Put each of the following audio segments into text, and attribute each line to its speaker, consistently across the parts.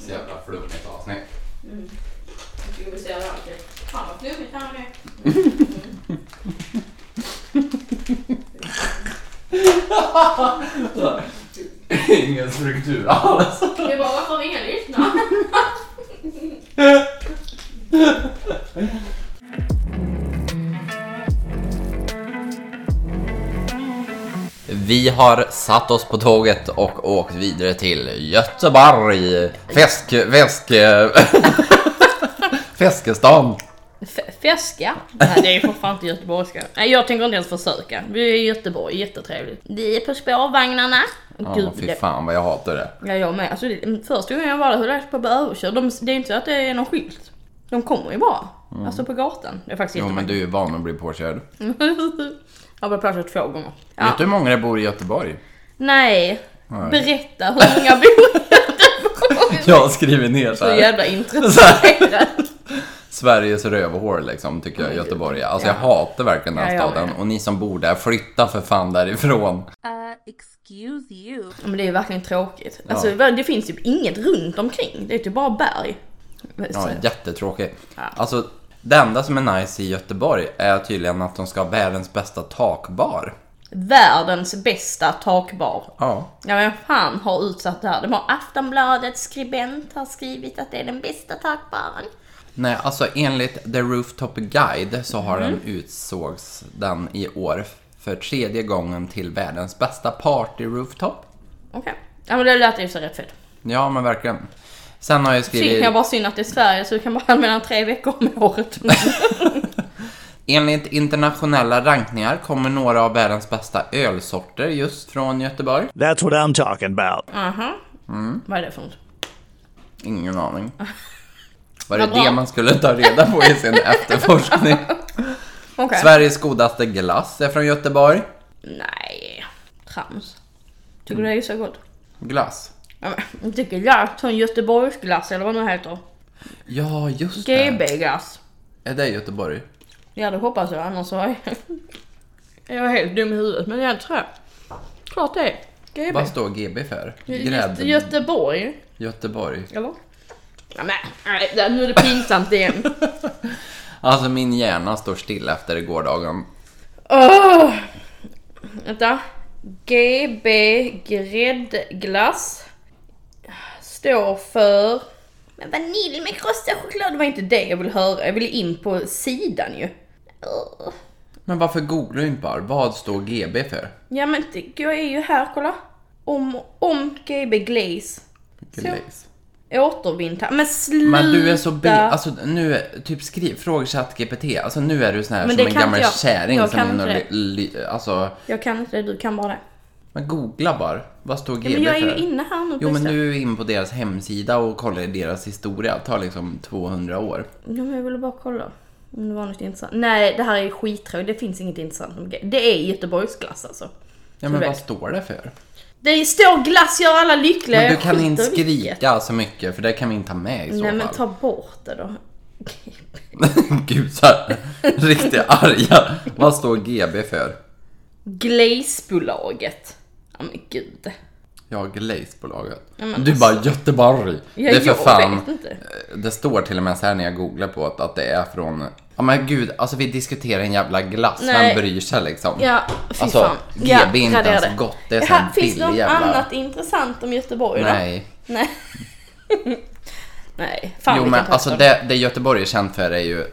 Speaker 1: Så jävla flummigt avsnitt.
Speaker 2: Mm. Jag tycker vi ser det alltid. Fan vad flummigt han är.
Speaker 1: Ingen struktur alls.
Speaker 2: Det var varför har ingen lyssnar.
Speaker 3: Vi har satt oss på tåget och åkt vidare till Göteborg. Fäsk... Fäsk... Fäskestan.
Speaker 4: F- Feska? Nej det är ju för fan inte göteborgska. Nej jag tänker inte ens försöka. Vi är i Göteborg, jättetrevligt. Vi är på spårvagnarna.
Speaker 3: Ja,
Speaker 4: Gud,
Speaker 3: fy
Speaker 4: det-
Speaker 3: fan vad jag hatar det.
Speaker 4: Ja jag med. Alltså, det, första gången jag var där höll jag på att bli överkörd. De, det är inte så att det är någon skylt. De kommer ju bara. Alltså på gatan. Det är faktiskt
Speaker 3: Mm. Jo men
Speaker 4: jättemånga.
Speaker 3: du är ju van att bli påkörd.
Speaker 4: jag har blivit påkörd två gånger.
Speaker 3: Vet
Speaker 4: Ja.
Speaker 3: du hur många det bor i Göteborg?
Speaker 4: Nej.
Speaker 3: Nej.
Speaker 4: Berätta hur många bor i Göteborg?
Speaker 3: Jag har skrivit ner så
Speaker 4: Så
Speaker 3: här.
Speaker 4: jävla
Speaker 3: Så
Speaker 4: intresserad.
Speaker 3: Sveriges rövhål liksom tycker jag Göteborg är. Alltså jag hatar verkligen den
Speaker 4: Ja,
Speaker 3: här
Speaker 4: jag
Speaker 3: staden.
Speaker 4: med.
Speaker 3: Och ni som bor där, flytta för fan därifrån.
Speaker 5: Uh, excuse you.
Speaker 4: Ja, Men det är ju verkligen tråkigt.
Speaker 3: Ja.
Speaker 4: Alltså det finns ju inget runt omkring. Det är typ bara berg.
Speaker 3: Ja,
Speaker 4: Så-
Speaker 3: jättetråkig.
Speaker 4: Ja.
Speaker 3: Alltså, det enda som är nice i Göteborg är tydligen att de ska ha världens bästa takbar.
Speaker 4: Världens bästa takbar.
Speaker 3: Ja.
Speaker 4: Ja men fan har utsatt det här? De har Aftonbladets skribent har skrivit att det är den bästa takbaren.
Speaker 3: Nej, alltså enligt The Rooftop Guide så har
Speaker 4: Mm.
Speaker 3: den utsågs den i år för tredje gången till världens bästa party rooftop.
Speaker 4: Okej. Ja men det lät ju så rätt fett.
Speaker 3: Ja, men verkligen. Sen har jag
Speaker 4: Synd,
Speaker 3: skrivit...
Speaker 4: jag bara synd att det är Sverige så du kan bara använda den tre veckor om året.
Speaker 3: Enligt internationella rankningar kommer några av världens bästa ölsorter just från Göteborg.
Speaker 6: That's what I'm talking about.
Speaker 4: Aha. Vad är det för något?
Speaker 3: Ingen aning. Var det
Speaker 4: Vad bra.
Speaker 3: det man skulle ta reda på i sin efterforskning?
Speaker 4: Okej.
Speaker 3: Sveriges godaste glass är från Göteborg.
Speaker 4: Nej. Trams. Tycker du det är så gott?
Speaker 3: Glass.
Speaker 4: Ja, men, jag tycker jag. Sån Göteborgsglass eller vad det nu heter.
Speaker 3: Ja, just det.
Speaker 4: GB-glass.
Speaker 3: Är det Göteborg?
Speaker 4: Ja det hoppas jag, annars så är jag är helt dum i huvudet. Men jag tror Klart det. GB.
Speaker 3: Vad står GB för?
Speaker 4: Göte-
Speaker 3: Grädd...
Speaker 4: Göteborg,
Speaker 3: Göteborg.
Speaker 4: eller? Ja, men, nej, det- nu är det pinsamt igen.
Speaker 3: Alltså min hjärna står still efter gårdagen.
Speaker 4: Åh! Vänta. GB gräddglass står för... Men vanilj med krossad choklad, det var inte det jag ville höra. Jag ville in på sidan ju. Åh.
Speaker 3: Men varför googlar du inte bara? Vad står GB för?
Speaker 4: Ja men det- jag är ju här, kolla. Om, om GB glaze.
Speaker 3: Glaze.
Speaker 4: Återvinn ta- Men sluta!
Speaker 3: Men du är så b... Alltså nu, är- typ skriv, fråga ChatGPT. Alltså nu är du sån här
Speaker 4: Men
Speaker 3: som
Speaker 4: det
Speaker 3: en
Speaker 4: kan
Speaker 3: gammal
Speaker 4: inte jag.
Speaker 3: kärring
Speaker 4: Jag
Speaker 3: som
Speaker 4: kan
Speaker 3: in och
Speaker 4: inte
Speaker 3: ly- ly- Alltså,
Speaker 4: Jag kan inte det, du kan bara det.
Speaker 3: men googla bara. Vad står GB
Speaker 4: Ja, men jag är
Speaker 3: för?
Speaker 4: ju inne här nu
Speaker 3: Jo men
Speaker 4: förresten.
Speaker 3: nu är vi inne på deras hemsida och kollar i deras historia. Det tar liksom 200 år.
Speaker 4: Ja men jag ville bara kolla. Om det var något intressant. Nej det här är skittråkigt, det finns inget intressant om GB. Det är Göteborgsglass alltså.
Speaker 3: Ja men
Speaker 4: du
Speaker 3: vad
Speaker 4: vet.
Speaker 3: står det för?
Speaker 4: Det står glass gör alla lyckliga,
Speaker 3: Men du
Speaker 4: jag
Speaker 3: kan
Speaker 4: skiter
Speaker 3: inte
Speaker 4: i vilket.
Speaker 3: skrika så mycket för det kan vi inte ha med i så
Speaker 4: Nej men
Speaker 3: fall.
Speaker 4: ta bort det då.
Speaker 3: Gud så här, riktigt arga. Vad står GB för?
Speaker 4: Glazebolaget. Ja men gud.
Speaker 3: Ja, Glazebolaget.
Speaker 4: men
Speaker 3: du bara Göteborg.
Speaker 4: Ja,
Speaker 3: det är för
Speaker 4: jag
Speaker 3: fan. Eh,
Speaker 4: vet inte.
Speaker 3: Det står till och med så här när jag googlar på att, att det är från... Ja men gud, alltså vi diskuterar en jävla glass.
Speaker 4: Nej.
Speaker 3: Vem bryr sig liksom?
Speaker 4: Ja, fy
Speaker 3: Alltså,
Speaker 4: fan.
Speaker 3: GB
Speaker 4: ja,
Speaker 3: är inte ens
Speaker 4: radera det.
Speaker 3: gott, det är
Speaker 4: Här-
Speaker 3: sån
Speaker 4: Finns det
Speaker 3: billig
Speaker 4: något
Speaker 3: jävla-
Speaker 4: annat intressant om Göteborg då?
Speaker 3: Nej.
Speaker 4: Nej. Nej, fan
Speaker 3: Jo
Speaker 4: vilken
Speaker 3: men alltså
Speaker 4: tröst.
Speaker 3: det, det Göteborg är känt för är ju,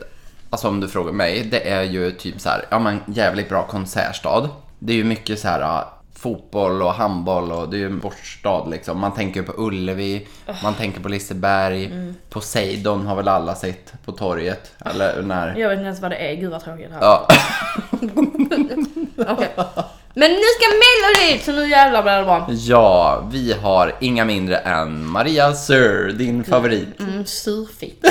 Speaker 3: alltså om du frågar mig, det är ju typ så här, ja men jävligt bra konsertstad. Det är ju mycket så här ja, fotboll och handboll och det är ju en sportstad liksom. Man tänker på Ullevi, man tänker på Liseberg,
Speaker 4: Mm.
Speaker 3: Poseidon har väl alla sett på torget eller när.
Speaker 4: Jag vet inte ens vad det är, gud vad tråkigt det här
Speaker 3: Ja.
Speaker 4: Okej. Men nu ska Mello dit, så nu jävlar blir det bra.
Speaker 3: ja, vi har inga mindre än Maria Sir, din favorit.
Speaker 4: Mm, surfitta.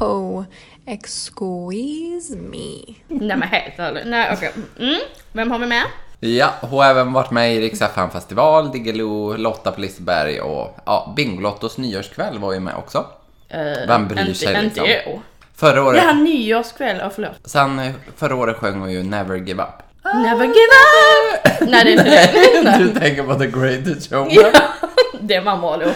Speaker 5: Oh, excuse me.
Speaker 4: Nej men helt ärligt. Nej okej. Mm. Vem har vi med?
Speaker 3: Ja, hon har även varit med i Rix FM festival, Diggiloo, Lotta på Liseberg och ja, Bingolottos nyårskväll var ju med också.
Speaker 4: Uh,
Speaker 3: Vem bryr sig,
Speaker 4: inte,
Speaker 3: liksom?
Speaker 4: Inte jag.
Speaker 3: Förra året,
Speaker 4: Ja, nyårskväll. Ja, förlåt.
Speaker 3: sen eh, förra året sjöng hon ju Never Give Up.
Speaker 4: Never give up! Nej, det är inte det.
Speaker 3: du tänker på The Greatest Showman.
Speaker 4: Ja, den vann bra låt.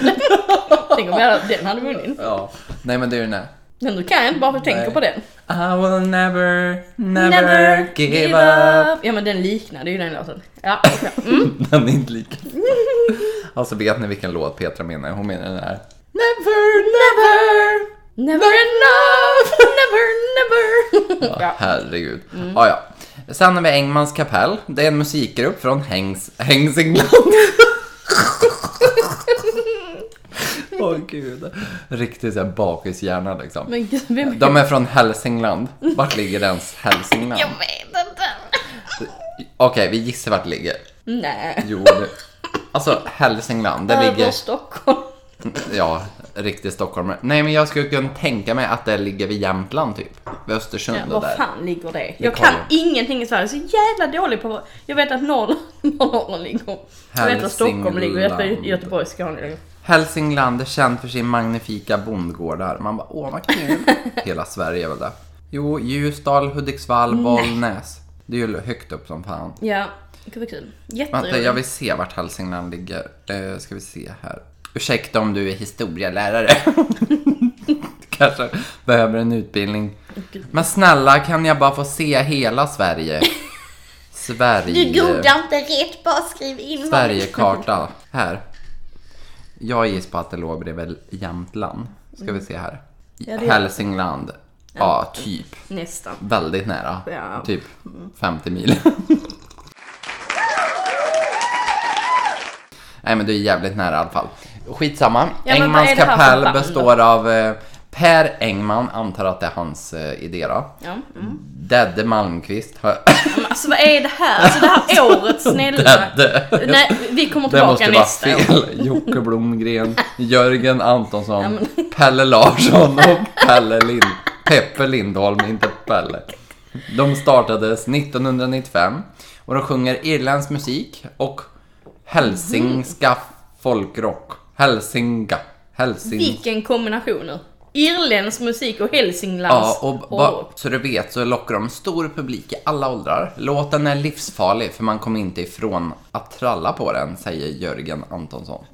Speaker 4: Tänk om jag hade, den hade vunnit.
Speaker 3: Ja. Nej men det är ju den här.
Speaker 4: Men nu kan jag inte bara för att jag tänker
Speaker 3: Nej.
Speaker 4: på den.
Speaker 3: I will never, never, give, up.
Speaker 4: Ja men den liknade ju den låten. Ja, Mm.
Speaker 3: Den är inte lika. Alltså vet ni vilken låt Petra menar? Hon menar den här. Never, never.
Speaker 4: Never enough, never, never.
Speaker 3: Ja.
Speaker 4: Ja. Mm.
Speaker 3: Herregud. Ja, ja. Sen har vi Engmans kapell. Det är en musikgrupp från Hängs, Hängsingland. Åh gud. Riktigt såhär bakishjärna liksom.
Speaker 4: Men gud, vem är
Speaker 3: De är från Hälsingland. Vart ligger ens Hälsingland?
Speaker 4: Jag vet inte.
Speaker 3: Okej, vi gissar vart det ligger.
Speaker 4: Nej.
Speaker 3: Jo, det... Alltså Hälsingland, det
Speaker 4: Över
Speaker 3: ligger...
Speaker 4: Stockholm.
Speaker 3: Ja, riktig stockholmare. Nej, men jag skulle kunna tänka mig att det ligger vid Jämtland typ. Vid Östersund
Speaker 4: Ja,
Speaker 3: och
Speaker 4: var
Speaker 3: där.
Speaker 4: fan ligger det? Jag kan
Speaker 3: kollar.
Speaker 4: ingenting i Sverige, så jävla dålig på Jag vet att Norrland, Norrland ligger. Jag vet att Stockholm ligger, jag vet att
Speaker 3: Hälsingland.
Speaker 4: Göteborg, Skåne ligger.
Speaker 3: Hälsingland är känd för sin magnifika bondgårdar. Man bara, åh vad kul. Hela Sverige är väl det. Jo, Ljusdal, Hudiksvall, Bollnäs. Det är ju högt upp som fan.
Speaker 4: Ja, gud vad kul.
Speaker 3: Vänta, jag
Speaker 4: Jätteroligt.
Speaker 3: vill se vart Hälsingland ligger. Eh, ska vi se här. Ursäkta om du är historielärare. Du Kanske behöver en utbildning. Men snälla, kan jag bara få se hela Sverige? Sverige.
Speaker 4: Du googlar inte rätt, bara skriv in vad du-
Speaker 3: Sverigekarta. Här. Jag gissar på att det låg bredvid Jämtland. Ska vi se här.
Speaker 4: det är-
Speaker 3: Hälsingland. Ja, typ.
Speaker 4: Nästan.
Speaker 3: Väldigt nära.
Speaker 4: Ja. Mm.
Speaker 3: Typ 50 mil. Nej men du är jävligt nära i alla fall. Skitsamma.
Speaker 4: Ja, men vad
Speaker 3: Engmans
Speaker 4: är det här för
Speaker 3: kapell
Speaker 4: band då?
Speaker 3: består av eh, Per Engman, antar att det är hans eh, idé då.
Speaker 4: Ja. Mm.
Speaker 3: Dedde Malmqvist. har-
Speaker 4: Men alltså vad är det här? Alltså det här året, snälla.
Speaker 3: Dedde.
Speaker 4: Nej, vi kommer
Speaker 3: Det måste
Speaker 4: tillbaka
Speaker 3: vara
Speaker 4: nästa år.
Speaker 3: fel. Jocke Blomgren, Jörgen Antonsson, Pelle Larsson och Pelle Lind... Peppe Lindholm, inte Pelle. De startades 1995 och de sjunger irländsk musik och hälsingska folkrock. Hälsinga. Hälsing...
Speaker 4: Vilken kombination nu. Irländsk musik och Hälsinglands
Speaker 3: Ja, och ba,
Speaker 4: hårdrock.
Speaker 3: så du vet så lockar de stor publik i alla åldrar. Låten är livsfarlig för man kommer inte ifrån att tralla på den, säger Jörgen Antonsson.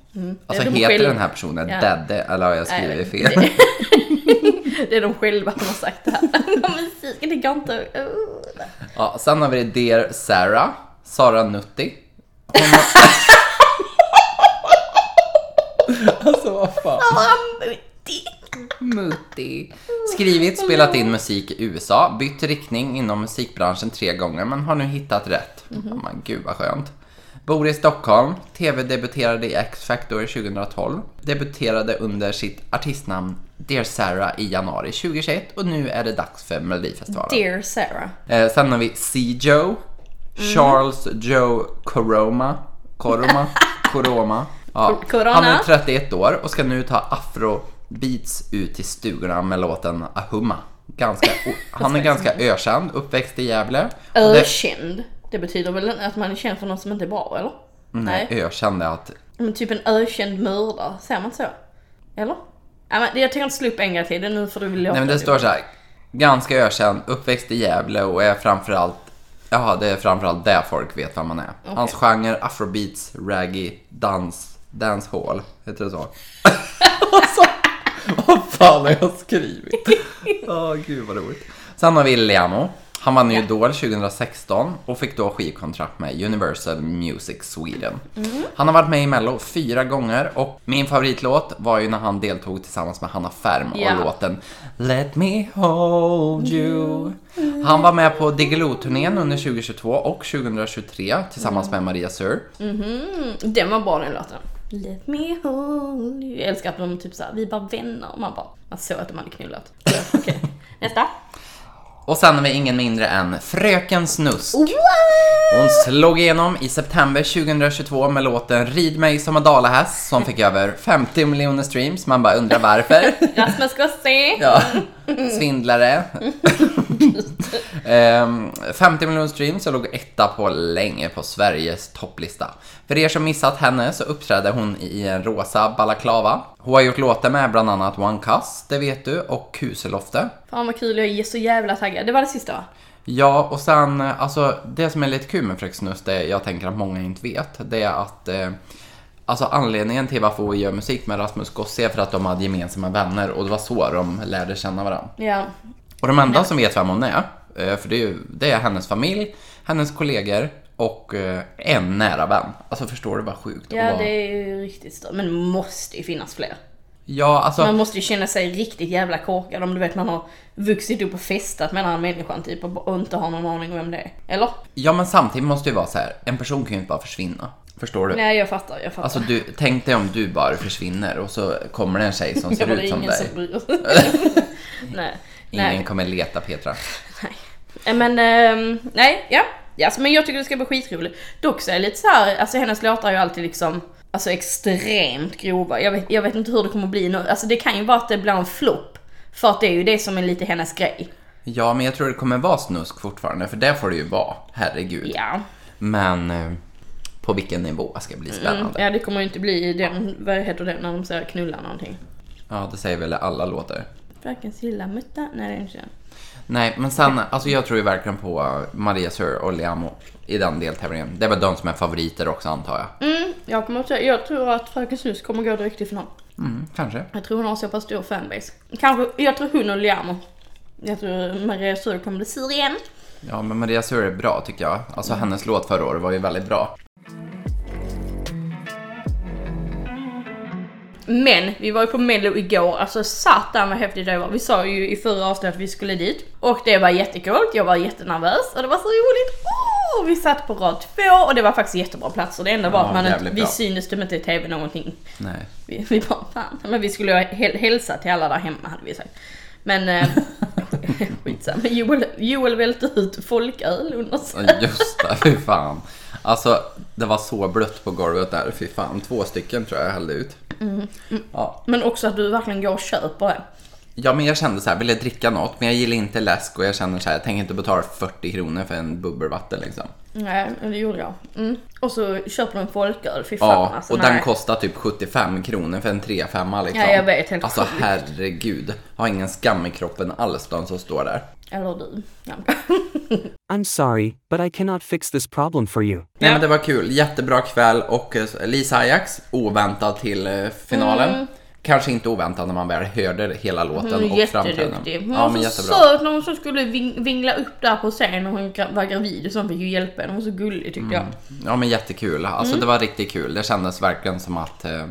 Speaker 3: Alltså
Speaker 4: Det är Mm. de
Speaker 3: heter
Speaker 4: själva.
Speaker 3: den här personen
Speaker 4: Ja.
Speaker 3: Dedde eller har jag skrivit
Speaker 4: Nej,
Speaker 3: fel?
Speaker 4: Det är de själva som har sagt det här. Ja, Musiken, det går inte... Uh.
Speaker 3: Ja, sen har vi Dear Sarah, Sara Nutti. Hon... alltså vad fan.
Speaker 4: Oh,
Speaker 3: Mutti. Skrivit, spelat in musik i USA, bytt riktning inom musikbranschen tre gånger men har nu hittat rätt. Oh, men gud vad skönt. Bor i Stockholm, tv-debuterade i X-Factor 2012. Debuterade under sitt artistnamn Dear Sarah i januari 2021 och nu är det dags för Melodifestivalen.
Speaker 4: Dear Sarah.
Speaker 3: Eh, sen har vi C. Joe,
Speaker 4: Mm.
Speaker 3: Charles Joe Coroma, Coroma, Coroma. Ja.
Speaker 4: Cor- Corona.
Speaker 3: Han är 31 år och ska nu ta afro beats ut till stugorna med låten Ahumma. Ganska, o- han är ganska ökänd, uppväxt i Gävle. Och
Speaker 4: Oh,
Speaker 3: det-
Speaker 4: Ökänd. Det betyder väl att man är känd för något som inte är bra, eller?
Speaker 3: Nej, ökänd är att
Speaker 4: Men typ en ökänd mördare, säger man så? Eller? Ja, men jag tänker inte slå upp en gång till, det är nu får du väl låta
Speaker 3: Nej men det står så här. Ganska ökänd, uppväxt i Gävle och är framförallt Jaha, det är framförallt där folk vet vad man är. Hans genre afrobeats, reggae, dans, dancehall. Heter det så? alltså, vad fan har jag skrivit? Åh gud vad roligt. Sen har vi Liano. Han vann ju Idol 2016 och fick då skivkontrakt med Universal Music Sweden. Han har varit med i Mello fyra gånger och min favoritlåt var ju när han deltog tillsammans med Hanna Färm
Speaker 4: Ja.
Speaker 3: och låten Let me hold you. Han var med på Diggiloo-turnén under 2022 och 2023 tillsammans med Maria Sur.
Speaker 4: Mm, Den var bra den låten. Let me hold you. Jag älskar att de typ såhär, vi är bara vänner. Och man bara, man såg att de hade knullat. Ja, Okej, nästa.
Speaker 3: Och sen har vi ingen mindre än Fröken Snusk.
Speaker 4: What?
Speaker 3: Hon slog igenom i september 2022 med låten Rid mig som en dalahäst som fick över 50 miljoner streams. Man bara undrar varför.
Speaker 4: Rasmus Gossi.
Speaker 3: Ja. Svindlare. Ehm, 50 miljoner streams och låg etta på länge på Sveriges topplista. För er som missat henne så uppträdde hon i en rosa balaklava. Hon har gjort låtar med bland annat One Cuss, det vet du, och Kuselofte.
Speaker 4: Fan vad kul, jag är så jävla taggad. Det var det sista va?
Speaker 3: Ja, och sen eh, alltså det som är lite kul med Fröken Snus, det jag tänker att många inte vet, det är att eh, Alltså anledningen till varför vi gör musik med Rasmus Gosse är för att de hade gemensamma vänner och det var så de lärde känna varandra.
Speaker 4: Ja.
Speaker 3: Och de enda som vet vem hon är, eh, för det är, ju, det är hennes familj, hennes kollegor och eh, en nära vän. Alltså förstår du vad sjukt? Och
Speaker 4: ja,
Speaker 3: vad-
Speaker 4: det är ju riktigt stört. Men det måste ju finnas fler.
Speaker 3: ja alltså,
Speaker 4: Man måste ju känna sig riktigt jävla korkad om du vet man har vuxit upp och festat med den här människan typ och ba- och inte har någon aning om vem det är. Eller?
Speaker 3: ja men samtidigt måste det ju vara så här. en person kan ju inte bara försvinna. Förstår du?
Speaker 4: Nej jag fattar, jag fattar.
Speaker 3: Alltså du, tänk dig om du bara försvinner och så kommer det en tjej som
Speaker 4: Ja,
Speaker 3: ser
Speaker 4: det är
Speaker 3: ut som
Speaker 4: ingen
Speaker 3: dig.
Speaker 4: som bryr sig. Nej.
Speaker 3: Ingen
Speaker 4: Nej.
Speaker 3: kommer leta Petra.
Speaker 4: Nej. Eh, Men, ehm, nej, ja. ja alltså, men jag tycker det ska bli skitroligt. Dock så är det lite så här, alltså hennes låtar är ju alltid liksom Alltså extremt grova. Jag vet, jag vet inte hur det kommer bli nu. Alltså det kan ju vara att det blir en flopp. För att det är ju det som är lite hennes grej.
Speaker 3: Ja, men jag tror det kommer vara snusk fortfarande, för det får det ju vara. Herregud.
Speaker 4: Ja.
Speaker 3: Men eh, på vilken nivå ska bli spännande.
Speaker 4: Mm. Ja det kommer ju inte bli den, vad heter det, när de säger knulla någonting.
Speaker 3: Ja, det säger väl alla låtar.
Speaker 4: Fröken Silla mutta, nej det är inte den.
Speaker 3: Nej, men sen, alltså jag tror ju verkligen på Maria Sur och Liamo i den deltävlingen. Det var de som är favoriter också antar jag.
Speaker 4: Mm, jag, kommer, att säga- jag tror att Fröken Sus kommer gå direkt i final.
Speaker 3: Mm, kanske.
Speaker 4: Jag tror hon har så pass stor fanbase. Kanske, jag tror hon och Liamo. Jag tror Maria Sur kommer bli sur igen.
Speaker 3: Ja, men Maria Sur är bra tycker jag. Alltså hennes låt förra året var ju väldigt bra.
Speaker 4: Men vi var ju på mello igår, alltså satan vad häftigt det var. Vi sa ju i förra avsnittet att vi skulle dit. Och det var jättekult, jag var jättenervös och det var så roligt. Åh, vi satt på rad två och det var faktiskt jättebra platser. Det enda var
Speaker 3: Ja,
Speaker 4: att man inte,
Speaker 3: jävligt
Speaker 4: vi
Speaker 3: bra.
Speaker 4: syntes typ inte i tv någonting.
Speaker 3: Nej.
Speaker 4: Vi, vi bara fan. Men vi skulle ju häl- hälsa till alla där hemma hade vi sagt. Men eh, skitsamma. Joel, Joel välte ut folköl under sig.
Speaker 3: Ja, Just det, fy fan. Alltså, det var så blött på golvet där. Fy fan, två stycken tror jag jag hällde ut.
Speaker 4: Mm.
Speaker 3: Ja.
Speaker 4: Men också att du verkligen går och köper det.
Speaker 3: ja, men jag kände så här, ville dricka något, men jag gillar inte läsk och jag känner så här, jag tänker inte betala 40 kronor för en bubbelvatten liksom.
Speaker 4: Nej, det gjorde jag. Mm. Och så köper du en folköl, fy fan
Speaker 3: Ja,
Speaker 4: alltså.
Speaker 3: och
Speaker 4: nej.
Speaker 3: den kostar typ 75 kronor för en 3-5 liksom.
Speaker 4: Ja, jag vet, helt
Speaker 3: Alltså
Speaker 4: sjukt.
Speaker 3: herregud, har ingen skam i kroppen alls de som står där.
Speaker 4: Eller du. Ja.
Speaker 6: I'm sorry, but I cannot fix this problem for you.
Speaker 3: Nej
Speaker 4: Ja.
Speaker 3: men det var kul, jättebra kväll och eh, Lisa Ajax, oväntad till eh, finalen. Kanske inte oväntad när man väl hörde hela låten
Speaker 4: Mm. Hon är
Speaker 3: och framträdandet.
Speaker 4: jätteduktig. Hon
Speaker 3: Ja
Speaker 4: var
Speaker 3: men
Speaker 4: så
Speaker 3: jättebra.
Speaker 4: söt när hon så skulle ving- vingla upp där på scen när hon gra- var gravid och sånt fick ju hjälpa henne. Hon var så gullig tyckte
Speaker 3: Mm.
Speaker 4: jag.
Speaker 3: Ja men jättekul,
Speaker 4: Mm.
Speaker 3: alltså det var riktigt kul. Det kändes verkligen som att eh,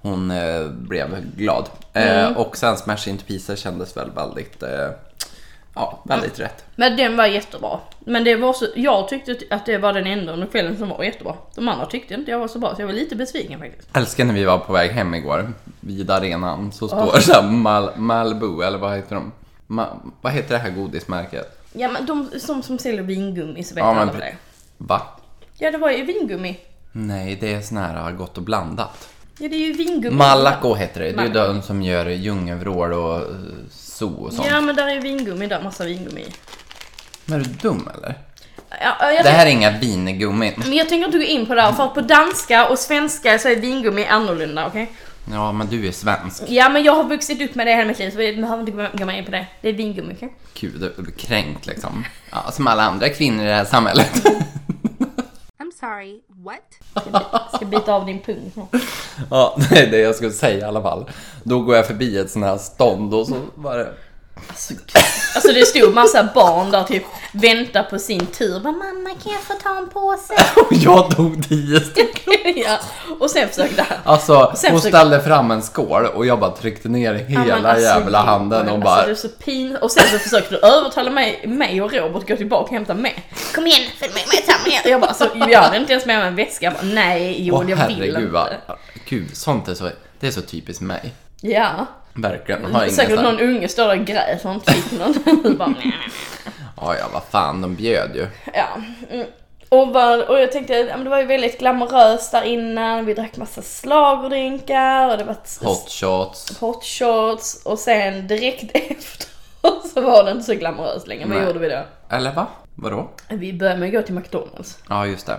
Speaker 3: hon eh, blev glad.
Speaker 4: Mm.
Speaker 3: Eh, och sen Smash Into Pieces kändes väl väldigt, eh, ja väldigt rätt.
Speaker 4: Men den var jättebra. Men det var så, jag tyckte att det var den enda under kvällen som var jättebra. De andra tyckte inte jag var så bra så jag var lite besviken faktiskt.
Speaker 3: Älskar när vi var på väg hem igår, vid arenan, så står det såhär Mal- Malibu, eller vad heter de? Ma- vad heter det här godismärket?
Speaker 4: Ja men de som, som säljer vingummi så vet
Speaker 3: Ja,
Speaker 4: alla
Speaker 3: men
Speaker 4: vad det
Speaker 3: pre-
Speaker 4: är.
Speaker 3: Va?
Speaker 4: Ja det var ju vingummi.
Speaker 3: Nej, det är sån här gott och blandat.
Speaker 4: Ja det är ju vingummi.
Speaker 3: Malaco heter det, det är ju
Speaker 4: Malaco.
Speaker 3: den som gör djungelvrål och eh, zoo och sånt.
Speaker 4: Ja men där är ju vingummi där, massa vingummi.
Speaker 3: Men är du dum eller?
Speaker 4: Ja, jag
Speaker 3: Det
Speaker 4: tänker-
Speaker 3: här är inga vingummin.
Speaker 4: Men jag tänker inte gå in på det här, för att på danska och svenska så är vingummi annorlunda, okej?
Speaker 3: Ja, men du är svensk.
Speaker 4: Ja men jag har vuxit upp med det hela mitt liv så vi behöver inte gå- gå in på det. Det är vingummi, okej?
Speaker 3: Gud, du är kränkt liksom. Ja, som alla andra kvinnor i det här samhället.
Speaker 5: I'm sorry, what?
Speaker 4: Ska bita av din pung snart.
Speaker 3: Ja, det är det jag skulle säga i alla fall. Då går jag förbi ett sånt här stånd och så var det...
Speaker 4: Alltså, gud. alltså det stod massa barn där typ väntar på sin tur. Bara, mamma kan jag få ta en påse?
Speaker 3: Och jag tog tio stycken.
Speaker 4: ja. Och sen försökte han.
Speaker 3: Alltså,
Speaker 4: Sen
Speaker 3: hon
Speaker 4: försökte-
Speaker 3: ställde fram en skål och jag bara tryckte ner
Speaker 4: Ja, men
Speaker 3: hela
Speaker 4: alltså,
Speaker 3: jävla
Speaker 4: gud,
Speaker 3: handen och
Speaker 4: alltså,
Speaker 3: bara...
Speaker 4: det är så pin... Och sen så försökte du övertala mig, mig och Robert att gå tillbaka och hämta med.
Speaker 2: Kom igen, följ med mig samma igen.
Speaker 4: Jag bara alltså, jag hade inte ens med mig en väska. Jag bara nej
Speaker 3: Åh
Speaker 4: Joel jag vill
Speaker 3: herregud vad...
Speaker 4: inte.
Speaker 3: Gud, sånt är så... Det är så typiskt mig.
Speaker 4: Ja.
Speaker 3: Verkligen. Har ingen
Speaker 4: Säkert
Speaker 3: sån-
Speaker 4: någon unge står där och grät för han inte fick någon. Du bara, nej, nej, nej.
Speaker 3: Ja, ja, vad fan, de bjöd ju.
Speaker 4: ja. Mm. Och, vad- och jag tänkte, ja, men det var ju väldigt glamoröst där innan. Vi drack massa slagerdrinkar och det var ett-
Speaker 3: Hot shots.
Speaker 4: hot shots. Och sen direkt efter så var det inte så glamoröst längre. Vad
Speaker 3: Nej.
Speaker 4: gjorde vi då?
Speaker 3: Eller va? Vadå?
Speaker 4: Vi började med att gå till McDonalds.
Speaker 3: Ja, just det.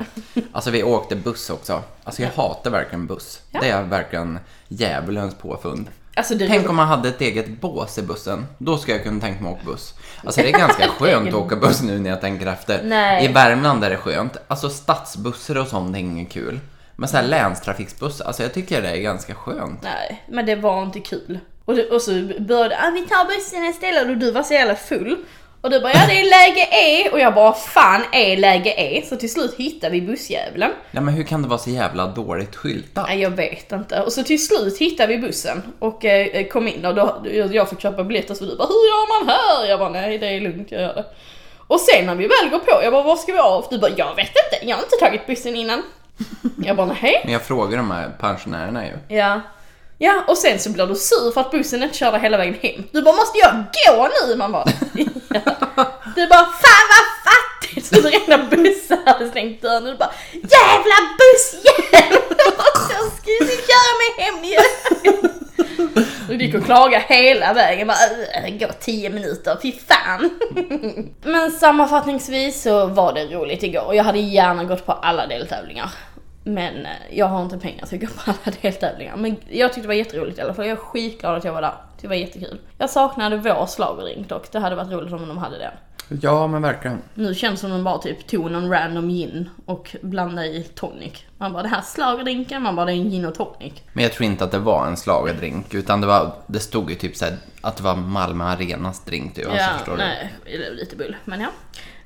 Speaker 3: Alltså vi åkte buss också. Alltså jag hatar verkligen buss. Det är verkligen djävulens påfund.
Speaker 4: Alltså det
Speaker 3: Tänk om man hade ett eget bås i bussen. Då skulle jag kunna tänka mig att åka buss. Alltså det är ganska skönt att åka buss nu när jag tänker efter.
Speaker 4: Nej.
Speaker 3: I Värmland är det skönt. Alltså stadsbussar och sånt är inget kul. Men så här länstrafiksbuss, alltså jag tycker det är ganska skönt.
Speaker 4: Nej, men det var inte kul. Och, det, och så började ah, vi tar bussen istället och du var så jävla full. Och du bara ja det är läge E och jag bara fan är läge E. Så till slut hittade vi bussjävlen.
Speaker 3: Nej men hur kan det vara så jävla dåligt skyltat?
Speaker 4: Nej jag vet inte. Och så till slut hittade vi bussen och eh, kom in och då, jag fick köpa biljetter så du bara hur gör man här? Jag bara nej det är lugnt jag gör det. Och sen när vi väl går på, jag bara var ska vi av? Du bara jag vet inte, jag har inte tagit bussen innan. Jag bara nej.
Speaker 3: Men jag frågar de här pensionärerna ju.
Speaker 4: Ja. Ja, och sen så blir du sur för att bussen inte körde hela vägen hem. Du bara måste jag gå nu? Man bara ja. Du bara fan vad fattigt! Så varenda buss hade stängt dörren och du bara jävla bussjävel! Jag ska ju köra mig hem igen! Du gick och klagade hela vägen bara "Äh, gå 10 minuter, fy fan! Men sammanfattningsvis så var det roligt igår och jag hade gärna gått på alla deltävlingar. Men eh, jag har inte pengar till att gå på alla deltävlingar. Men jag tyckte det var jätteroligt i alla fall. Jag är skitglad att jag var där. Det var jättekul. Jag saknade vår schlagerring dock. Det hade varit roligt om de hade den.
Speaker 3: Ja men verkligen.
Speaker 4: Nu känns det som de bara typ tog någon random gin och blandade i tonic. Man bara det här schlagerdrinken, man bara det är en gin och tonic.
Speaker 3: Men jag tror inte att det var en slagerdrink utan det, var, det stod ju typ så här, att det var Malmö Arenas drink du. Alltså, förstår du?
Speaker 4: nej, det är lite bull. Men ja.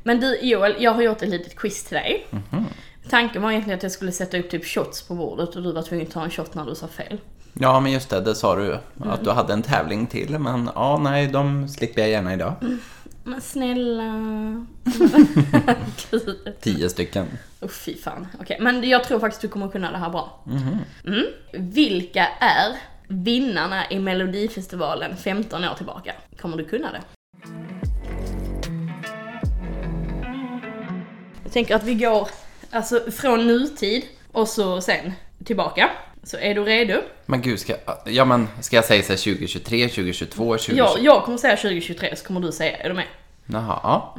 Speaker 4: Men du Joel, jag har gjort ett litet quiz till dig.
Speaker 3: Mhm.
Speaker 4: Tanken var egentligen att jag skulle sätta upp typ shots på bordet och du var tvungen att ta en shot när du sa fel.
Speaker 3: Ja men just det, det sa du att du hade en tävling till men ja nej de slipper jag gärna idag.
Speaker 4: Men snälla... Gud.
Speaker 3: Tio stycken.
Speaker 4: Oh, fy fan. Okej, men jag tror faktiskt du kommer kunna det här bra. Mm. Vilka är vinnarna i Melodifestivalen 15 år tillbaka? Kommer du kunna det? Jag tänker att vi går alltså, från nutid och så sen tillbaka. Så är du redo?
Speaker 3: Men gud, ska, ja, men, ska jag säga så här 2023, 2022, 2020?
Speaker 4: Jag, jag kommer säga 2023 så kommer du säga, är du med?
Speaker 3: Jaha, ja.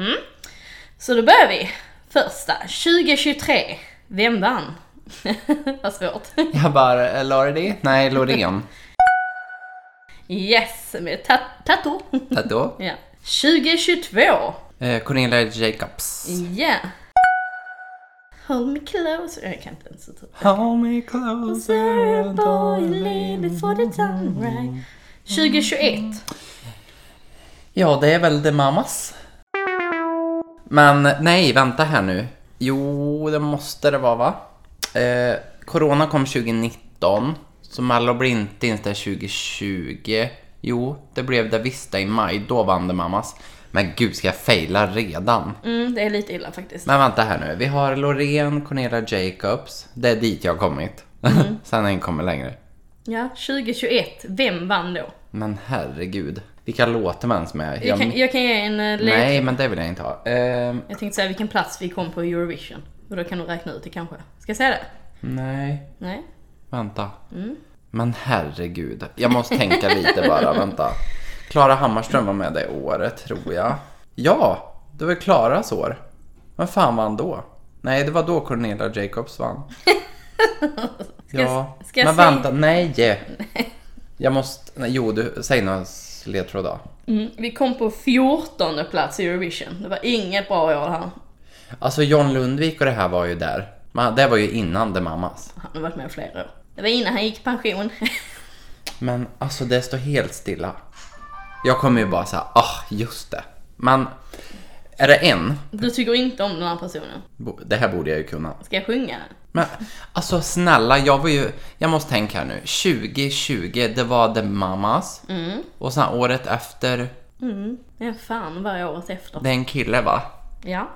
Speaker 4: Så då börjar vi. Första, 2023. Vem vann? Vad svårt.
Speaker 3: Jag bara, eh, Lordi? Nej, Loreen.
Speaker 4: Yes, med ta- Tato.
Speaker 3: Tato.
Speaker 4: ja. 2022.
Speaker 3: Eh, Cornelia Jacobs.
Speaker 4: Ja. Hold me close. Jag kan inte ens typ. uttala
Speaker 3: Hold me closer
Speaker 4: det. Boy, lean before the time right. 2021.
Speaker 3: Ja, det är väl The Mamas. Men nej, vänta här nu. Jo, det måste det vara va? Eh, corona kom 2019, så Mallow blir inte ens där 2020. Jo, det blev det visst i maj. Då vann The Mamas. Men gud, ska jag faila redan?
Speaker 4: Mm, det är lite illa faktiskt.
Speaker 3: Men vänta här nu. Vi har Loreen, Cornelia Jacobs. Det är dit jag har kommit. Sen har jag inte kommit längre.
Speaker 4: Ja, 2021. Vem vann då?
Speaker 3: Men herregud. Vilka låter man ens med?
Speaker 4: Jag
Speaker 3: Jag-
Speaker 4: kan, jag kan ge en eh, lek.
Speaker 3: Nej, men det vill jag inte ha. Ehm,
Speaker 4: Jag tänkte säga vilken plats vi kom på i Eurovision. Och då kan du räkna ut det kanske. Ska jag säga det?
Speaker 3: nej,
Speaker 4: Nej?
Speaker 3: vänta.
Speaker 4: Mm.
Speaker 3: Men herregud. Jag måste tänka lite bara, vänta. Klara Hammarström var med det året, tror jag. Ja, det var Klaras år. Vem fan vann då? Nej, det var då Cornelia Jacobs vann. ja,
Speaker 4: ska jag
Speaker 3: men
Speaker 4: säga-
Speaker 3: vänta, nej. Jag måste, nej, jo, du, säg några ledtråd då.
Speaker 4: Mm, vi kom på 14 plats i Eurovision. Det var inget bra år det här.
Speaker 3: Alltså John Lundvik och det här var ju där. Men det var ju innan The Mamas.
Speaker 4: Han har varit med i flera år. Det var innan han gick i pension.
Speaker 3: Men alltså det står helt stilla. Jag kommer ju bara säga, ah just det. Men är det en?
Speaker 4: Du tycker inte om den här personen.
Speaker 3: Bo- Det här borde jag ju kunna.
Speaker 4: Ska jag sjunga den?
Speaker 3: Men alltså snälla, jag var ju, jag måste tänka här nu. 2020, det var The Mamas. Och sen året efter,
Speaker 4: Ja, fan vad är året efter?
Speaker 3: det är en kille va?
Speaker 4: Ja.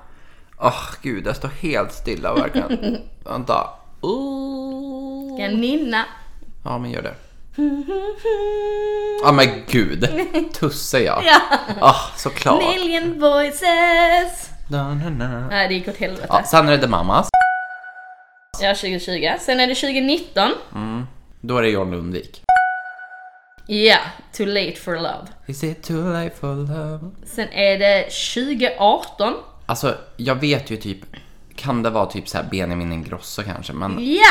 Speaker 3: Åh gud, det står helt stilla verkligen. Vänta.
Speaker 4: Ska jag nynna?
Speaker 3: Ja men gör det. Ja men gud, Tusse ja.
Speaker 4: Ja.
Speaker 3: Ah, såklart.
Speaker 4: Million voices!
Speaker 3: Da, na, na.
Speaker 4: Nej, det gick åt helvete.
Speaker 3: Ja, sen är det The Mamas.
Speaker 4: Ja, 2020. Sen är det 2019.
Speaker 3: Då är det John Lundvik.
Speaker 4: Ja, Too late for love.
Speaker 3: Is it too late for love?
Speaker 4: Sen är det 2018.
Speaker 3: Alltså, jag vet ju typ... Kan det vara typ så här Benjamin Ingrosso kanske? Men
Speaker 4: Ja!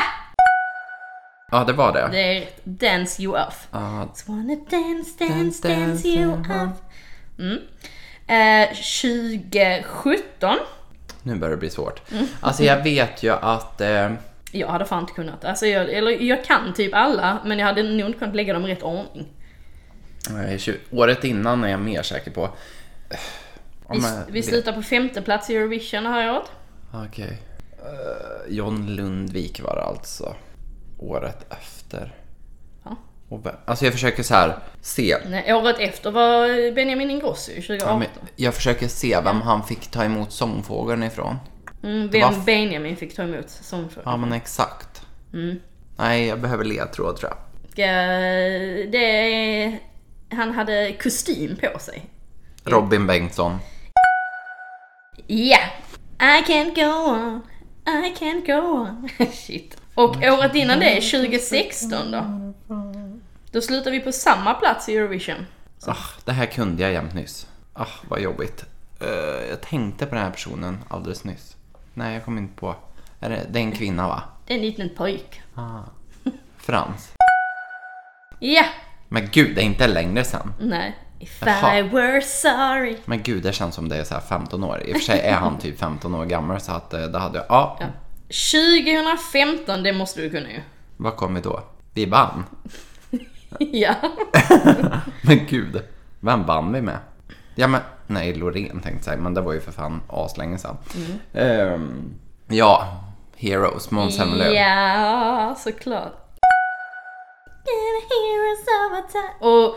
Speaker 3: ja, det var det.
Speaker 4: Det är rätt. Dance you off.
Speaker 3: Ja,
Speaker 4: Just wanna dance, dance,
Speaker 3: Dance,
Speaker 4: dance
Speaker 3: dance
Speaker 4: you
Speaker 3: you
Speaker 4: off. Mm. Eh, 2017.
Speaker 3: Mm. nu börjar det bli svårt. Alltså, jag vet ju att eh,
Speaker 4: Jag hade fan inte kunnat. Alltså jag, eller jag kan typ alla, men jag hade nog inte kunnat lägga dem i rätt ordning.
Speaker 3: Nej, tju- Året innan är jag mer säker på. eh,
Speaker 4: Vi,
Speaker 3: Om jag-
Speaker 4: vi slutar på femte plats i Eurovision det här året.
Speaker 3: Okej. Eh, John Lundvik var det alltså. Året efter.
Speaker 4: Ja.
Speaker 3: Och vem- Alltså jag försöker så här se.
Speaker 4: Nej, året efter var Benjamin Ingrosso 2018.
Speaker 3: Ja, men Jag försöker se vem han fick ta emot sångfågeln ifrån.
Speaker 4: mm,
Speaker 3: det var
Speaker 4: vem
Speaker 3: f-
Speaker 4: Benjamin fick ta emot som för.
Speaker 3: Ja men exakt. Nej, jag behöver ledtråd tror jag.
Speaker 4: Eh, Det är... Han hade kostym på sig.
Speaker 3: Robin Bengtsson.
Speaker 4: Yeah! I can't go on, I can't go on. Shit. Och året innan det, 2016 då. Då slutar vi på samma plats i Eurovision.
Speaker 3: Ah, det här kunde jag jämt nyss. Ah, vad jobbigt. Eh, jag tänkte på den här personen alldeles nyss. Nej, jag kom inte på. Är det, det är en kvinna va?
Speaker 4: Det är en liten pojk.
Speaker 3: Frans.
Speaker 4: Yeah!
Speaker 3: Men gud, det är inte längre sen.
Speaker 4: Nej. If
Speaker 3: Jaha.
Speaker 4: I were sorry.
Speaker 3: Men gud, det känns som det är så här 15 år. I och för sig är han typ 15 år gammal så att eh, det hade jag... Ja,
Speaker 4: 2015, det måste du kunna ju.
Speaker 3: vad kom vi då? Vi vann.
Speaker 4: Ja.
Speaker 3: Men gud, vem vann vi med? Ja men, nej Loreen tänkte jag säga, men det var ju för fan aslänge sedan.
Speaker 4: Mm.
Speaker 3: Ehm, ja, Heroes, Måns Zelmerlöw.
Speaker 4: Ja, såklart. Gonna hear us all the time. Och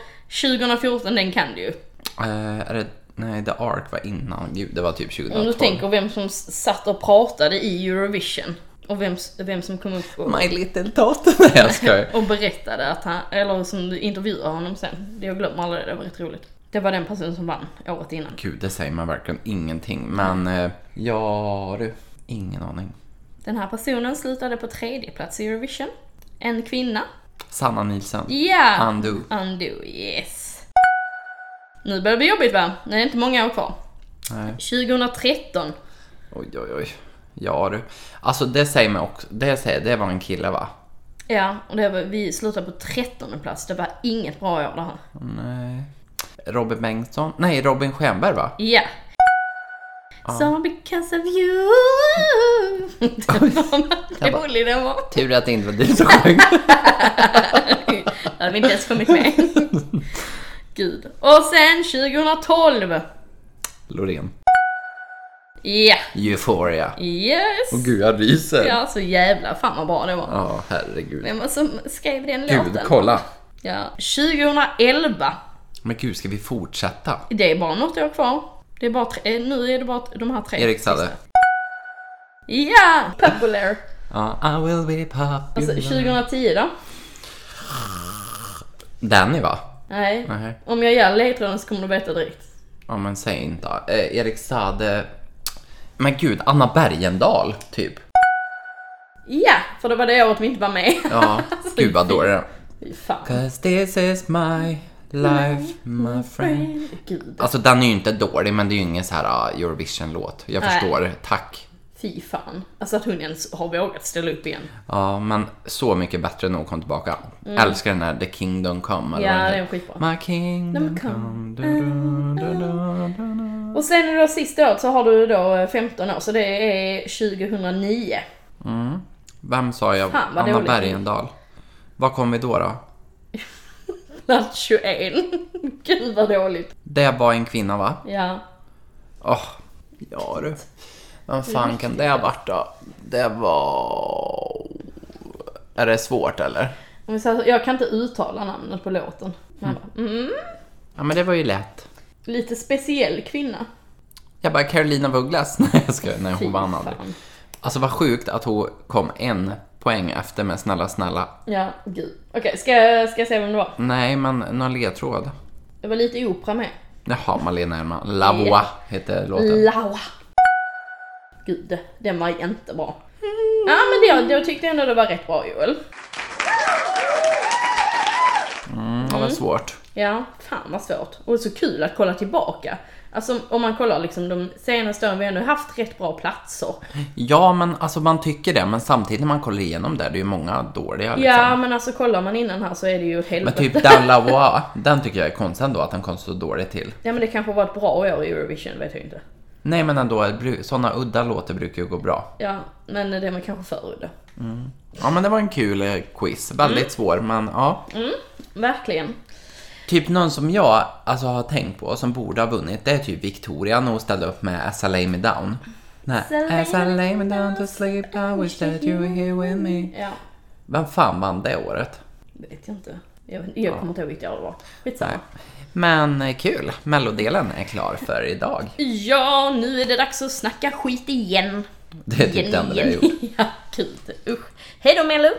Speaker 4: 2014, den kan du ju.
Speaker 3: Eh, är det, nej, The Ark var innan. Gud, det var typ
Speaker 4: Om du
Speaker 3: 2012.
Speaker 4: Mm, tänker vem som s- satt och pratade i Eurovision och vem, s- vem som kom upp och,
Speaker 3: My little tot. Nej, jag skojar.
Speaker 4: och berättade att han, eller som intervjuade honom sen. Det Jag glömmer aldrig, det var rätt roligt. Det var den personen som vann året innan.
Speaker 3: Gud, det säger man verkligen ingenting. Men, eh, ja du. Ingen aning.
Speaker 4: Den här personen slutade på tredje plats i Eurovision. En kvinna.
Speaker 3: Sanna Nilsson.
Speaker 4: Ja!
Speaker 3: Undo.
Speaker 4: Undo, yes. Nu börjar det bli jobbigt va? Det är inte många år kvar.
Speaker 3: Nej.
Speaker 4: 2013.
Speaker 3: Oj, oj, oj. Ja du. Alltså det säger man också. Det, säger, det var en kille va?
Speaker 4: Ja, och det var, vi slutade på trettonde plats. Det var inget bra år det här.
Speaker 3: Nej. Robin Bengtsson? Nej, Robin Stjernberg va?
Speaker 4: Ja. So because of you Det var
Speaker 3: Jag
Speaker 4: vad
Speaker 3: bara-
Speaker 4: rolig den var.
Speaker 3: Tur att det inte var du som sjöng.
Speaker 4: Jag hade inte ens kommit med. Gud. Och sen 2012.
Speaker 3: Loreen.
Speaker 4: Ja.
Speaker 3: Euphoria.
Speaker 4: Yes.
Speaker 3: Åh gud, jag ryser. Ja,
Speaker 4: Ja, så jävla fan vad bra det var.
Speaker 3: herregud.
Speaker 4: Vem var det som skrev den
Speaker 3: Gud,
Speaker 4: låten?
Speaker 3: kolla.
Speaker 4: Ja. 2011.
Speaker 3: Men gud, ska vi fortsätta?
Speaker 4: Det är bara något år kvar. Det är bara tre, eh, nu är det bara de här tre.
Speaker 3: Erik Saade.
Speaker 4: Ja! Popular.
Speaker 3: Ja, I will be
Speaker 4: Alltså
Speaker 3: popular.
Speaker 4: 2010 då?
Speaker 3: Danny va?
Speaker 4: Nej.
Speaker 3: Nej.
Speaker 4: Om jag ger ledtråden så kommer du veta direkt.
Speaker 3: Ja men säg inte. Eh, Erik Saade. Men gud, Anna Bergendahl typ.
Speaker 4: Ja, för det var det året vi inte var med.
Speaker 3: Ja, gud vad dålig den
Speaker 4: Fy Fan.
Speaker 3: Cause this is my life, my friend.
Speaker 4: Gud.
Speaker 3: Alltså den är ju inte dålig men det är ju ingen så här ah, Eurovision-låt. Jag
Speaker 4: Nej.
Speaker 3: förstår, tack.
Speaker 4: Fy fan. Alltså att hon ens har vågat ställa upp igen.
Speaker 3: Ja, men så mycket bättre än att komma tillbaka. Älskar den här The Kingdom Come.
Speaker 4: Mm. Ja,
Speaker 3: vad den
Speaker 4: den är
Speaker 3: heter.
Speaker 4: skitbra.
Speaker 3: My Kingdom
Speaker 4: Den
Speaker 3: Come.
Speaker 4: kom.
Speaker 3: Du, du, du, du, du, du.
Speaker 4: Och sen då sista året så har du då eh, 15 år, så det är 2009.
Speaker 3: Vem sa jag?
Speaker 4: Fan, vad
Speaker 3: Anna
Speaker 4: dåligt.
Speaker 3: Bergendahl. Vad kom vi då då?
Speaker 4: Plats 21. Gud vad dåligt.
Speaker 3: Det var en kvinna va?
Speaker 4: Ja.
Speaker 3: Åh, ja du. Vem fan kan det ha varit då? Det var... Är det svårt eller?
Speaker 4: Om vi säger så, jag kan inte uttala namnet på låten. Men jag bara, mm.
Speaker 3: Ja men det var ju lätt.
Speaker 4: Lite speciell kvinna.
Speaker 3: Jag bara Carolina af Ugglas. Nej jag skojar, nej
Speaker 4: Fy
Speaker 3: hon vann aldrig.
Speaker 4: fan.
Speaker 3: Alltså vad sjukt att hon kom en poäng efter med Snälla snälla.
Speaker 4: Ja, gud. Okej, ska, jag- ska jag säga vem det var?
Speaker 3: Nej men någon ledtråd.
Speaker 4: Det var lite opera med.
Speaker 3: Jaha Malena Ernman. La Voix
Speaker 4: Ja.
Speaker 3: heter låten.
Speaker 4: Laua. Gud, den var inte bra. Ja, men det, jag tyckte ändå det var rätt bra Joel.
Speaker 3: Mm, det var svårt.
Speaker 4: Ja, fan vad svårt. Och så kul att kolla tillbaka. Alltså om man kollar liksom de senaste åren, vi har ändå haft rätt bra platser.
Speaker 3: Ja men alltså man tycker det men samtidigt när man kollar igenom det, det är ju många dåliga liksom.
Speaker 4: Ja, men alltså kollar man innan här så är det ju ett
Speaker 3: Men
Speaker 4: helvete.
Speaker 3: typ Dan Lavois, den tycker jag är konstig ändå att den kom så dåligt till.
Speaker 4: Ja men det kanske var ett bra år i Eurovision, vet jag inte.
Speaker 3: Nej men ändå, sådana udda låtar brukar ju gå bra.
Speaker 4: Ja, men det var kanske för udda.
Speaker 3: Ja men det var en kul eh, quiz. Väldigt
Speaker 4: Mm.
Speaker 3: svår men ja.
Speaker 4: Verkligen.
Speaker 3: Typ någon som jag alltså, har tänkt på som borde ha vunnit det är typ Victoria när hon ställde upp med As I lay me down. Nej, As I lay me down to sleep I wish that you were here with me.
Speaker 4: Ja,
Speaker 3: Vem fan vann det året?
Speaker 4: vet jag inte. Jag, jag kommer inte ihåg vilket år det var. Skitsamma.
Speaker 3: Nej. Men eh, kul, mellodelen är klar för idag.
Speaker 4: Ja, nu är det dags att snacka skit igen.
Speaker 3: Det är typ det enda vi har gjort.
Speaker 4: ja, kul. Usch. Hej då Mello!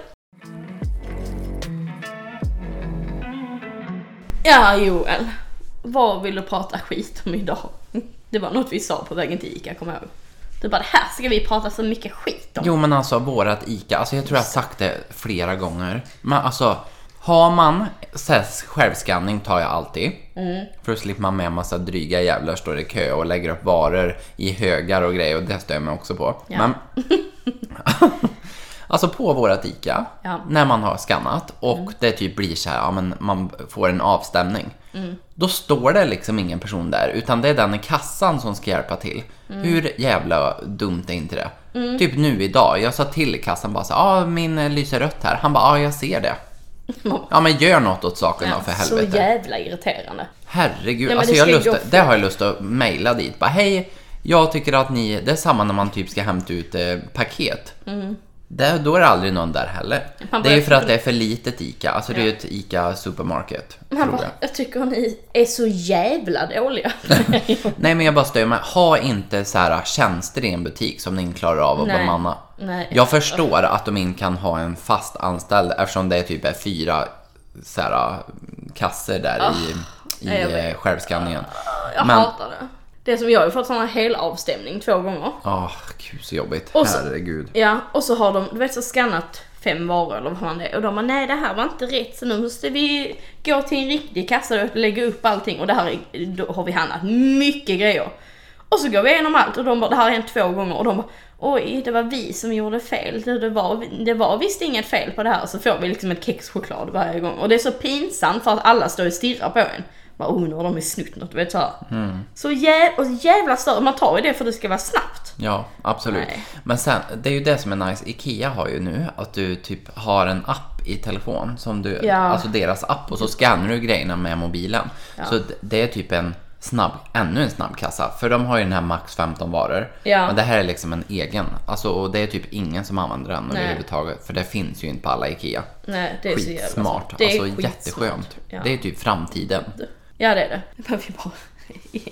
Speaker 4: Ja, Joel. Vad vill du prata skit om idag? Det var något vi sa på vägen till Ica, kommer jag ihåg. Du bara, det här ska vi prata så mycket skit om.
Speaker 3: Jo men alltså vårat ICA, alltså jag tror jag har sagt det flera gånger. Men alltså, har man så här självskanning tar jag alltid. För då slipper man med en massa dryga jävlar står i kö och lägger upp varor i högar och grejer och det stör jag mig också på.
Speaker 4: Ja.
Speaker 3: Men, alltså på vårat ICA,
Speaker 4: Ja. Mm.
Speaker 3: när man har skannat och det typ blir så här, ja men man får en avstämning.
Speaker 4: Mm.
Speaker 3: Då står det liksom ingen person där utan det är den i kassan som ska hjälpa till.
Speaker 4: Mm.
Speaker 3: Hur jävla dumt är inte det? Typ nu idag, jag sa till i kassan bara så ja ah, min eh, lyser rött här. Han bara, ja ah, jag ser det. Ja men gör något åt saken då för
Speaker 4: så
Speaker 3: helvete.
Speaker 4: jävla irriterande.
Speaker 3: Herregud,
Speaker 4: men
Speaker 3: alltså
Speaker 4: det
Speaker 3: jag har
Speaker 4: ska
Speaker 3: lust,
Speaker 4: jag
Speaker 3: det
Speaker 4: få.
Speaker 3: har jag lust att mejla dit. Bara, hej, jag tycker att ni, det är samma när man typ ska hämta ut eh, paket. Det, då är det aldrig någon där heller.
Speaker 4: Mm. Man
Speaker 3: det är ju
Speaker 4: börjar-
Speaker 3: för att det är för litet ICA. Alltså det är ju ett ICA supermarket.
Speaker 4: Han
Speaker 3: Tror
Speaker 4: bara,
Speaker 3: jag.
Speaker 4: jag tycker ni är så jävla dåliga.
Speaker 3: Nej men jag bara stör mig. Ha inte så här äh, tjänster i en butik som ni inte klarar av att
Speaker 4: Nej.
Speaker 3: bemanna.
Speaker 4: Nej.
Speaker 3: Jag förstår att de inte kan ha en fast anställd eftersom det är typ är fyra så här, kasser där i,
Speaker 4: nej, Ah, jag
Speaker 3: i
Speaker 4: vet.
Speaker 3: eh, självskanningen.
Speaker 4: Jag
Speaker 3: Men-
Speaker 4: hatar det. Det är som jag har ju fått sån här helavstämning två gånger.
Speaker 3: Åh, Ah, gud så jobbigt.
Speaker 4: Och så-
Speaker 3: Herregud.
Speaker 4: Ja, och så har de, du vet så skannat fem varor eller vad fan det är och de bara nej det här var inte rätt så nu måste vi gå till en riktig kassa och lägga upp allting och det här är, då har vi handlat mycket grejer. Och så går vi igenom allt och de bara det här har hänt två gånger och de bara oj det var vi som gjorde fel, det, det, var, det var visst inget fel på det här så får vi liksom ett kex choklad varje gång och det är så pinsamt för att alla står och stirrar på en. Bara oh nu har de ju snutt något, du vet såhär. Så jä- och jävla större, man tar ju det för det ska vara snabbt.
Speaker 3: Ja, absolut.
Speaker 4: Nej.
Speaker 3: Men sen, det är ju det som är nice. IKEA har ju nu att du typ har en app i telefon, som du,
Speaker 4: Ja.
Speaker 3: alltså deras app, och så scannar du grejerna med mobilen. Så d- det är typ en snabb, ännu en snabbkassa. För de har ju den här max 15 varor.
Speaker 4: Ja.
Speaker 3: Men det här är liksom en egen. Alltså, och det är typ ingen som använder den
Speaker 4: Nej.
Speaker 3: överhuvudtaget. För det finns ju inte på alla IKEA.
Speaker 4: Nej, det är så jävla
Speaker 3: Skitsmart.
Speaker 4: smart. Det är
Speaker 3: Alltså
Speaker 4: skitsmart.
Speaker 3: jätteskönt.
Speaker 4: Ja.
Speaker 3: Det är typ framtiden.
Speaker 4: Ja, det är det. Men vi bara...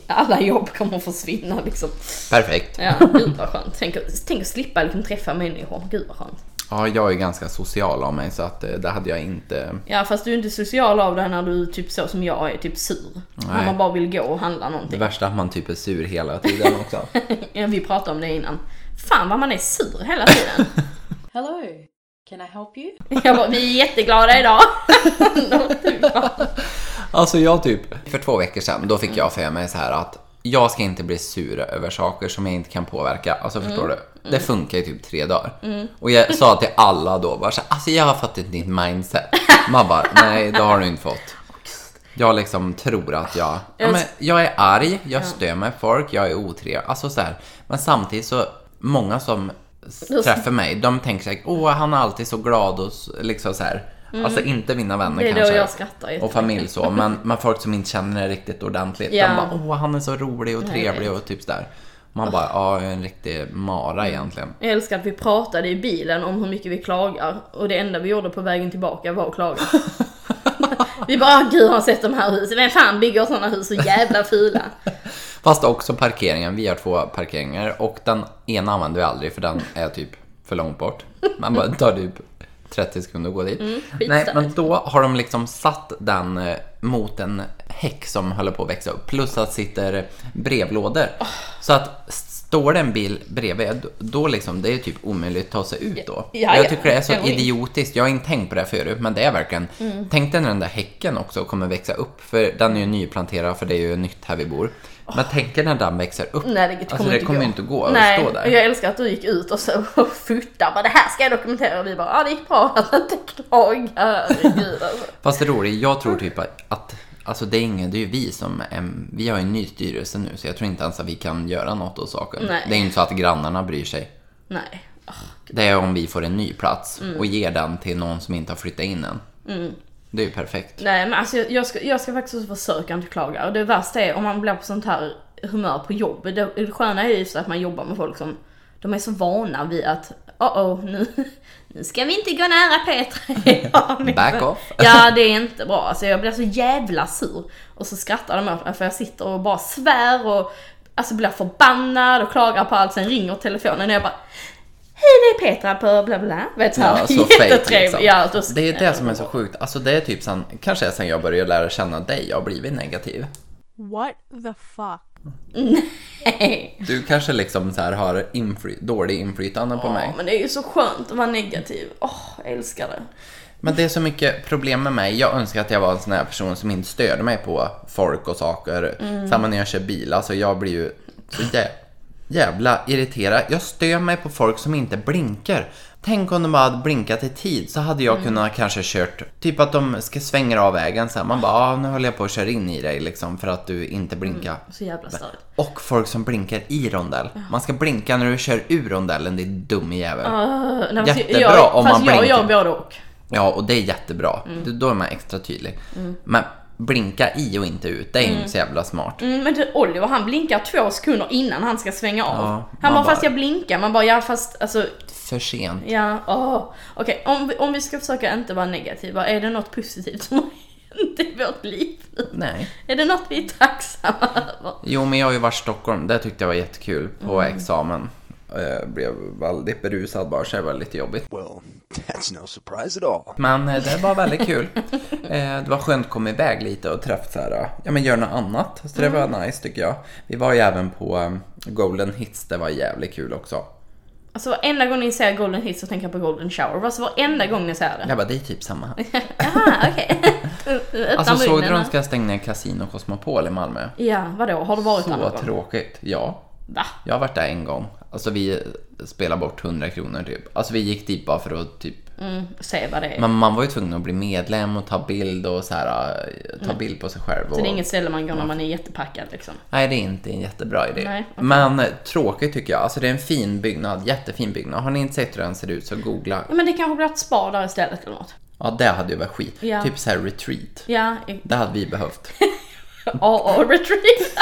Speaker 4: Alla jobb kommer att försvinna liksom.
Speaker 3: Perfekt.
Speaker 4: Ja, gud vad skönt. Tänk, att- tänk att slippa liksom, träffa människor. Gud vad skönt.
Speaker 3: Ja, jag är ganska social av mig så att eh, det hade jag inte
Speaker 4: Ja, fast du är inte social av det när du är typ så som jag är, typ sur. När man bara vill gå och handla
Speaker 3: Det
Speaker 4: någonting.
Speaker 3: värsta är att man typ är sur hela tiden också.
Speaker 4: Ja, vi pratade om det innan. Fan vad man är sur hela tiden.
Speaker 7: Hello, can I help you?
Speaker 4: Jag bara, vi är jätteglada idag.
Speaker 3: alltså jag typ. För två veckor sedan, då fick jag för mig så här att jag ska inte bli sur över saker som jag inte kan påverka. Alltså
Speaker 4: Mm.
Speaker 3: förstår du? Det funkar ju typ tre dagar. Och jag sa till alla då bara så här, alltså jag har fått ett nytt mindset. Man bara, nej det har du inte fått. Jag liksom tror att jag, ja, men jag är arg, jag stör mig folk, jag är otrevlig. Alltså så här. Men samtidigt så, många som s- träffar mig, de tänker såhär, åh han är alltid så glad och s- liksom så här. Alltså inte mina vänner
Speaker 4: Mm. Det är då
Speaker 3: kanske.
Speaker 4: jag skrattar
Speaker 3: och
Speaker 4: jättemycket.
Speaker 3: familj så, men, men folk som inte känner det riktigt ordentligt.
Speaker 4: Ja.
Speaker 3: De bara, åh han är så rolig och trevlig och typ sådär. Man bara, ja jag är en riktig mara egentligen.
Speaker 4: Jag älskar att vi pratade i bilen om hur mycket vi klagar och det enda vi gjorde på vägen tillbaka var att klaga. vi bara "Åh, gud har ni sett de här husen? Vem fan bygger sådana hus så jävla fula?
Speaker 3: Fast också parkeringen. Vi har två parkeringar och den ena använder vi aldrig för den är typ för långt bort. Man bara tar typ 30 sekunder att gå
Speaker 4: Mm,
Speaker 3: dit. Nej, men då har de liksom satt den eh, mot en häck som håller på att växa upp. Plus att sitter brevlådor. Så att står det en bil bredvid, då liksom, det är typ omöjligt att ta sig ut då.
Speaker 4: Ja,
Speaker 3: jag
Speaker 4: ja.
Speaker 3: tycker det är så
Speaker 4: Jo, inte.
Speaker 3: idiotiskt. Jag har inte tänkt på det här förut, men det är verkligen...
Speaker 4: Mm.
Speaker 3: Tänk dig när den där häcken också kommer växa upp, för den är ju nyplanterad för det är ju nytt här vi bor. Men tänk dig när den växer upp.
Speaker 4: Nej, det kommer,
Speaker 3: alltså, det
Speaker 4: inte,
Speaker 3: kommer
Speaker 4: gå.
Speaker 3: ju inte gå att
Speaker 4: Nej,
Speaker 3: stå
Speaker 4: och
Speaker 3: där.
Speaker 4: jag älskar att du gick ut och så och fotade bara det här ska jag dokumentera och vi bara "Ah, ja det gick bra att inte klaga, herregud alltså.
Speaker 3: Fast det roliga, jag tror typ att, att Alltså det är ingen, det är ju vi som, är- vi har ju en ny styrelse nu så jag tror inte ens att vi kan göra något åt saken.
Speaker 4: Nej.
Speaker 3: Det är ju inte så att grannarna bryr sig.
Speaker 4: Nej.
Speaker 3: Det är om vi får en ny plats
Speaker 4: Mm.
Speaker 3: och ger den till någon som inte har flyttat in än. Det är ju perfekt.
Speaker 4: Nej men alltså jag, jag, ska, jag ska faktiskt också försöka inte klaga. Och det värsta är om man blir på sånt här humör på jobbet. Det, det sköna är ju så att man jobbar med folk som, de är så vana vid att oh oh nu, nu ska vi inte gå nära Petra
Speaker 3: Back off.
Speaker 4: Ja det är inte bra. Alltså jag blir så jävla sur. Och så skrattar de åt mig för jag sitter och bara svär och alltså blir förbannad och klagar på allt. Sen ringer telefonen och jag bara Hej det är Petra på bla bla. Vet du
Speaker 3: Ja, så fake liksom.
Speaker 4: Ja, då
Speaker 3: Det är det som är så sjukt. Alltså det är typ sen, kanske sen jag började lära känna dig, jag har blivit negativ.
Speaker 5: What the fuck?
Speaker 3: Du kanske liksom så här har infly- dålig inflytande på mig.
Speaker 4: Ja, men det är ju så skönt att vara negativ. Åh, jag älskar det.
Speaker 3: Men det är så mycket problem med mig. Jag önskar att jag var en sån här person som inte störde mig på folk och saker. Samma när jag kör bil. Alltså jag blir ju så jä- jävla irriterad. Jag stör mig på folk som inte blinkar. Tänk om de bara hade blinkat i tid så hade jag kunnat kanske kört, typ att de ska svänga av vägen så här. Man bara, ah, nu höll jag på att köra in i dig liksom för att du inte blinkar.
Speaker 4: Så jävla störigt.
Speaker 3: Och folk som blinkar i rondell. Man ska blinka när du kör ur rondellen, din dumme jävel.
Speaker 4: Uh, nej, fast
Speaker 3: Jättebra
Speaker 4: jag,
Speaker 3: om
Speaker 4: fast
Speaker 3: man
Speaker 4: jag gör
Speaker 3: blinkar.
Speaker 4: både och.
Speaker 3: Ja, och det är jättebra. Då- Då är man extra tydlig. Men blinka i och inte ut, det är ju inte så jävla smart.
Speaker 4: Mm, men du, Oliver han blinkar två sekunder innan han ska svänga
Speaker 3: Ja,
Speaker 4: av. han
Speaker 3: man
Speaker 4: bara,
Speaker 3: bara-
Speaker 4: fast jag blinkar. Man bara, ja fast alltså,
Speaker 3: För sent.
Speaker 4: ja, åh. Okej, om, vi- om vi ska försöka inte vara negativa, är det något positivt som har hänt i vårt liv nu?
Speaker 3: Nej.
Speaker 4: Är det något vi är tacksamma över?
Speaker 3: Jo, men jag har ju varit i Stockholm. Det tyckte jag var jättekul på examen. Jag blev väldigt berusad bara, så det var lite jobbigt.
Speaker 8: Well, that's no surprise at all.
Speaker 3: Men eh, det var väldigt kul. Eh, Det var skönt att komma iväg lite och träffa så här, eh, ja men gör något annat. Så det var nice tycker jag. Vi var ju även på eh, Golden Hits, det var jävligt kul också.
Speaker 4: Alltså varenda gång ni säger golden hit så tänker jag på golden shower. Alltså varenda gång ni säger det.
Speaker 3: Jag bara, det är typ samma.
Speaker 4: Jaha, okej. Öppna
Speaker 3: Alltså såg du
Speaker 4: munnen.
Speaker 3: de ska stänga ner Casino Cosmopol i Malmö?
Speaker 4: Ja, vadå? Har du varit där
Speaker 3: Så
Speaker 4: någon gång?
Speaker 3: tråkigt. Ja,
Speaker 4: Va?
Speaker 3: jag har varit där en gång. Alltså vi spelade bort 100 kronor typ. Alltså vi gick dit bara för att typ...
Speaker 4: Se vad det är.
Speaker 3: Men man var ju tvungen att bli medlem och ta bild och så här, eh, ta bild på sig själv. Och...
Speaker 4: Mm. Så det är inget ställe man går när man är jättepackad liksom.
Speaker 3: Nej, det är inte en jättebra idé.
Speaker 4: Nej, okej.
Speaker 3: Men eh, tråkigt tycker jag. Alltså det är en fin byggnad, jättefin byggnad. Har ni inte sett hur den ser ut så googla.
Speaker 4: Ja men det kanske blir ett spa där istället eller något.
Speaker 3: Ja, det hade ju varit skit.
Speaker 4: Ja.
Speaker 3: Typ så här retreat.
Speaker 4: Ja,
Speaker 3: Det hade vi behövt.
Speaker 4: AA retreat.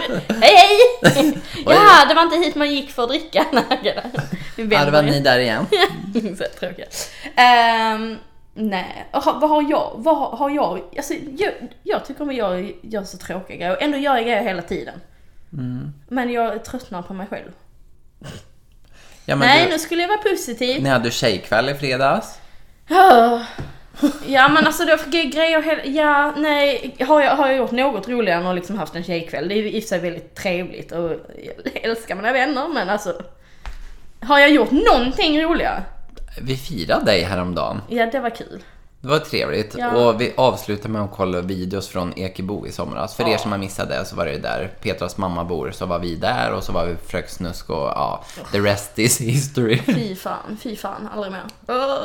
Speaker 4: hej hej! ja, det var inte hit man gick för att dricka. Nej, Vi
Speaker 3: Ja, det var ni
Speaker 4: vänder
Speaker 3: där igen.
Speaker 4: ju. Så tråkiga. Ehm, nej, Och ha- vad har jag? Vad har- har jag? Alltså, jag, jag tycker om att jag gör så tråkiga grejer. Ändå gör jag grejer hela tiden.
Speaker 3: Mm.
Speaker 4: Men jag tröttnar på mig själv.
Speaker 3: Ja, men
Speaker 4: Nej,
Speaker 3: du...
Speaker 4: nu skulle jag vara positiv.
Speaker 3: Ni hade tjejkväll i fredags.
Speaker 4: Ah. Ja men alltså det var grejer hela... Ja, nej. Har jag, har jag gjort något roligare än att liksom haft en tjejkväll? Det är ju i och för sig väldigt trevligt och jag älskar mina vänner men alltså... Har jag gjort någonting roligare?
Speaker 3: Vi firade dig häromdagen.
Speaker 4: Ja det var kul.
Speaker 3: Det var trevligt.
Speaker 4: Ja.
Speaker 3: Och vi avslutar med att kolla videos från Ekebo i somras. För er som har missat det så var det där Petras mamma bor, så var vi där och så var vi på Fröken Snusk och ja, the rest is history.
Speaker 4: Fy fan, fy fan, aldrig mer. Uh,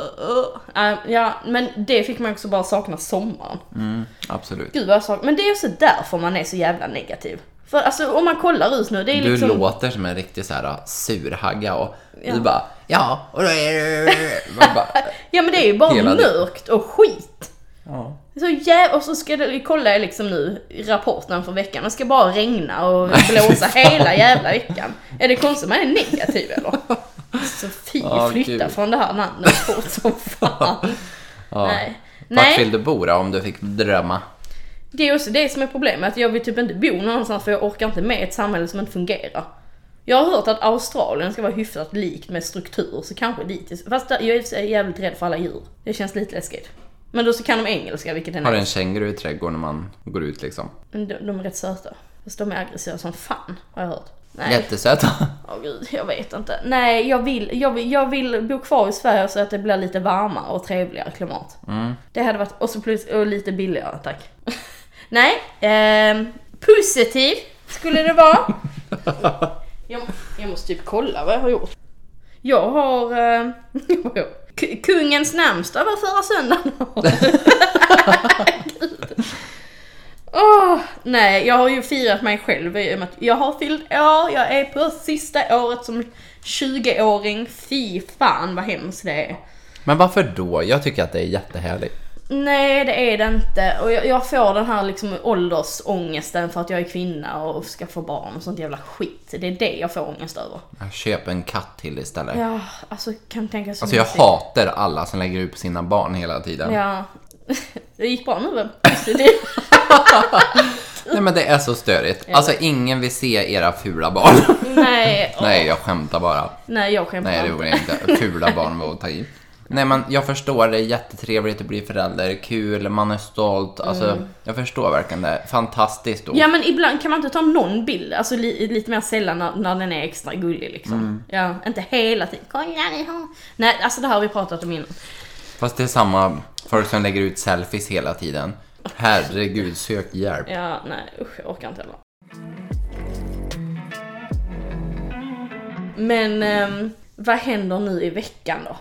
Speaker 4: uh. Äh, ja men det fick man också bara sakna sommaren.
Speaker 3: Absolut.
Speaker 4: Gud vad jag saknar. Men det är också därför man är så jävla negativ. För alltså om man kollar ut nu, det är
Speaker 3: Du
Speaker 4: liksom...
Speaker 3: låter som en riktig så här surhagga och du bara ja, och då är det... Man bara,
Speaker 4: Ja men det är ju bara
Speaker 3: Hela det-
Speaker 4: mörkt och skit.
Speaker 3: ja.
Speaker 4: Så jä- och så ska det, kolla jag liksom nu rapporten för veckan, det ska bara regna och blåsa hela jävla veckan. Är det konstigt man är negativ eller? Så fy,
Speaker 3: Ja,
Speaker 4: flytta
Speaker 3: gud.
Speaker 4: från det här landet fort som fan.
Speaker 3: Ja.
Speaker 4: Nej.
Speaker 3: Vart vill
Speaker 4: Nej,
Speaker 3: du bo då om du fick drömma?
Speaker 4: det är också det som är problemet. Jag vill typ inte bo någonstans för jag orkar inte med ett samhälle som inte fungerar. Jag har hört att Australien ska vara hyfsat likt med struktur, så kanske dit. Fast där, jag är i och för sig jävligt rädd för alla djur. Det känns lite läskigt. Men då så kan de engelska, vilket är
Speaker 3: Har
Speaker 4: nice.
Speaker 3: du en känguru i trädgården när man går ut liksom?
Speaker 4: Men de, de är rätt söta. Fast de är aggressiva som fan, har jag hört. Nej,
Speaker 3: Jättesöta.
Speaker 4: åh gud, jag vet inte. Nej, jag vill, jag, vill, jag vill bo kvar i Sverige så att det blir lite varmare och trevligare klimat. Det hade varit, och så plus, och lite billigare, tack. Nej, ehm, positiv skulle det vara. jag, jag måste typ kolla vad jag har gjort. Jag har... ehm, vad har jag- K- kungens namnsdag var förra söndagen. Gud. Nej, jag har ju firat mig själv i och med att jag har fyllt år, jag är på sista året som 20-åring. Fy fan vad hemskt det är.
Speaker 3: Men varför då? Jag tycker att det är jättehärligt.
Speaker 4: Nej, det är det inte. Och jag, jag får den här liksom åldersångesten för att jag är kvinna och ska få barn och sånt jävla skit. Det är det jag får ångest över.
Speaker 3: Jag köper en katt till istället.
Speaker 4: Ja, alltså kan tänka så
Speaker 3: Alltså jag
Speaker 4: mysigt.
Speaker 3: hatar alla som lägger upp sina barn hela tiden.
Speaker 4: Mm. Ja. Det gick bra nu väl? Det-
Speaker 3: Nej men det är så störigt. Alltså ingen vill se era fula barn.
Speaker 4: Nej, åh.
Speaker 3: Nej jag skämtar bara.
Speaker 4: Nej, jag skämtar.
Speaker 3: Nej det gjorde jag inte. Fula barn var att ta i. Nej men jag förstår, det är jättetrevligt att bli förälder, kul, man är stolt. Alltså jag förstår verkligen det. Fantastiskt ord.
Speaker 4: Mm. Ja men ibland kan man inte ta någon bild, alltså li, lite mer sällan när, när den är extra gullig liksom. Ja, inte hela tiden. Kolla ni har... Nej, alltså det här har vi pratat om innan.
Speaker 3: Fast det är samma folk som lägger ut selfies hela tiden. Herregud, sök hjälp.
Speaker 4: Ja, nej usch, jag orkar inte heller. Men ehm, vad händer nu i veckan då?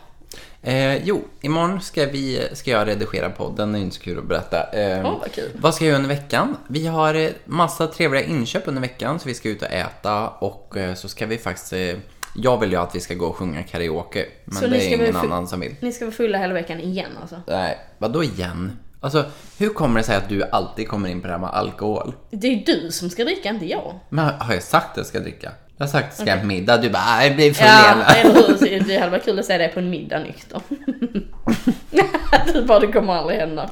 Speaker 3: Eh, jo, imorgon ska, vi, ska jag redigera podden, det är inte så kul att berätta. Eh,
Speaker 4: Åh, vad kul.
Speaker 3: Vad ska jag göra under veckan? Vi har eh, massa trevliga inköp under veckan, så vi ska ut och äta och eh, så ska vi faktiskt... Eh, jag vill ju att vi ska gå och sjunga karaoke, men
Speaker 4: Så ni
Speaker 3: det
Speaker 4: ska
Speaker 3: är ingen
Speaker 4: väl fu-
Speaker 3: annan som vill.
Speaker 4: Ni ska vara fulla hela veckan igen alltså?
Speaker 3: Nej, vadå igen? Alltså, hur kommer det sig att du alltid kommer in på det här med alkohol?
Speaker 4: Det är ju du som ska dricka, inte jag.
Speaker 3: Men har- har jag sagt att jag ska dricka? Jag har sagt att jag ska äta middag, du bara "Ah, jag blir full
Speaker 4: Ja,
Speaker 3: igen.
Speaker 4: eller hur? Så Det hade varit kul att se dig på en middag nykter. du bara, det kommer aldrig hända.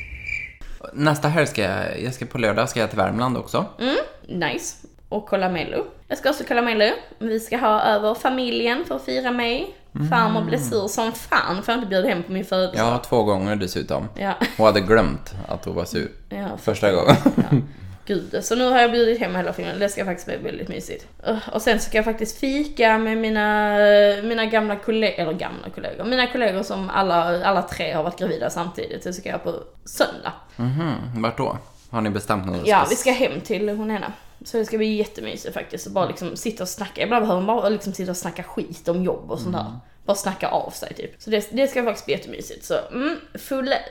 Speaker 3: Nästa helg ska jag, jag ska på lördag ska jag till Värmland också.
Speaker 4: Mm, Nice. Och kolla Mello. Jag ska också kolla Mello. Vi ska ha över familjen för att fira mig. Farmor blev sur som fan för jag inte bjöd hem på min födelsedag.
Speaker 3: Ja, två gånger dessutom.
Speaker 4: Ja.
Speaker 3: Hon hade glömt att hon var sur.
Speaker 4: Ja, för
Speaker 3: Första gången.
Speaker 4: gud. Så nu har jag bjudit hem hela familjen. Det ska faktiskt bli väldigt mysigt. Ugh, Och sen ska jag faktiskt fika med mina, mina gamla kollegor, eller gamla kollegor, mina kollegor som alla, alla tre har varit gravida samtidigt. Det ska jag på söndag.
Speaker 3: Mhm, Vart då? Har ni bestämt något?
Speaker 4: Ja, vi ska hem till hon ena. Så det ska bli jättemysigt faktiskt. Och bara liksom sitta och snacka. Ibland behöver man bara liksom sitta och snacka skit om jobb och sånt där. Bara snacka av sig typ. Så det, det ska faktiskt bli jättemysigt. Så mm,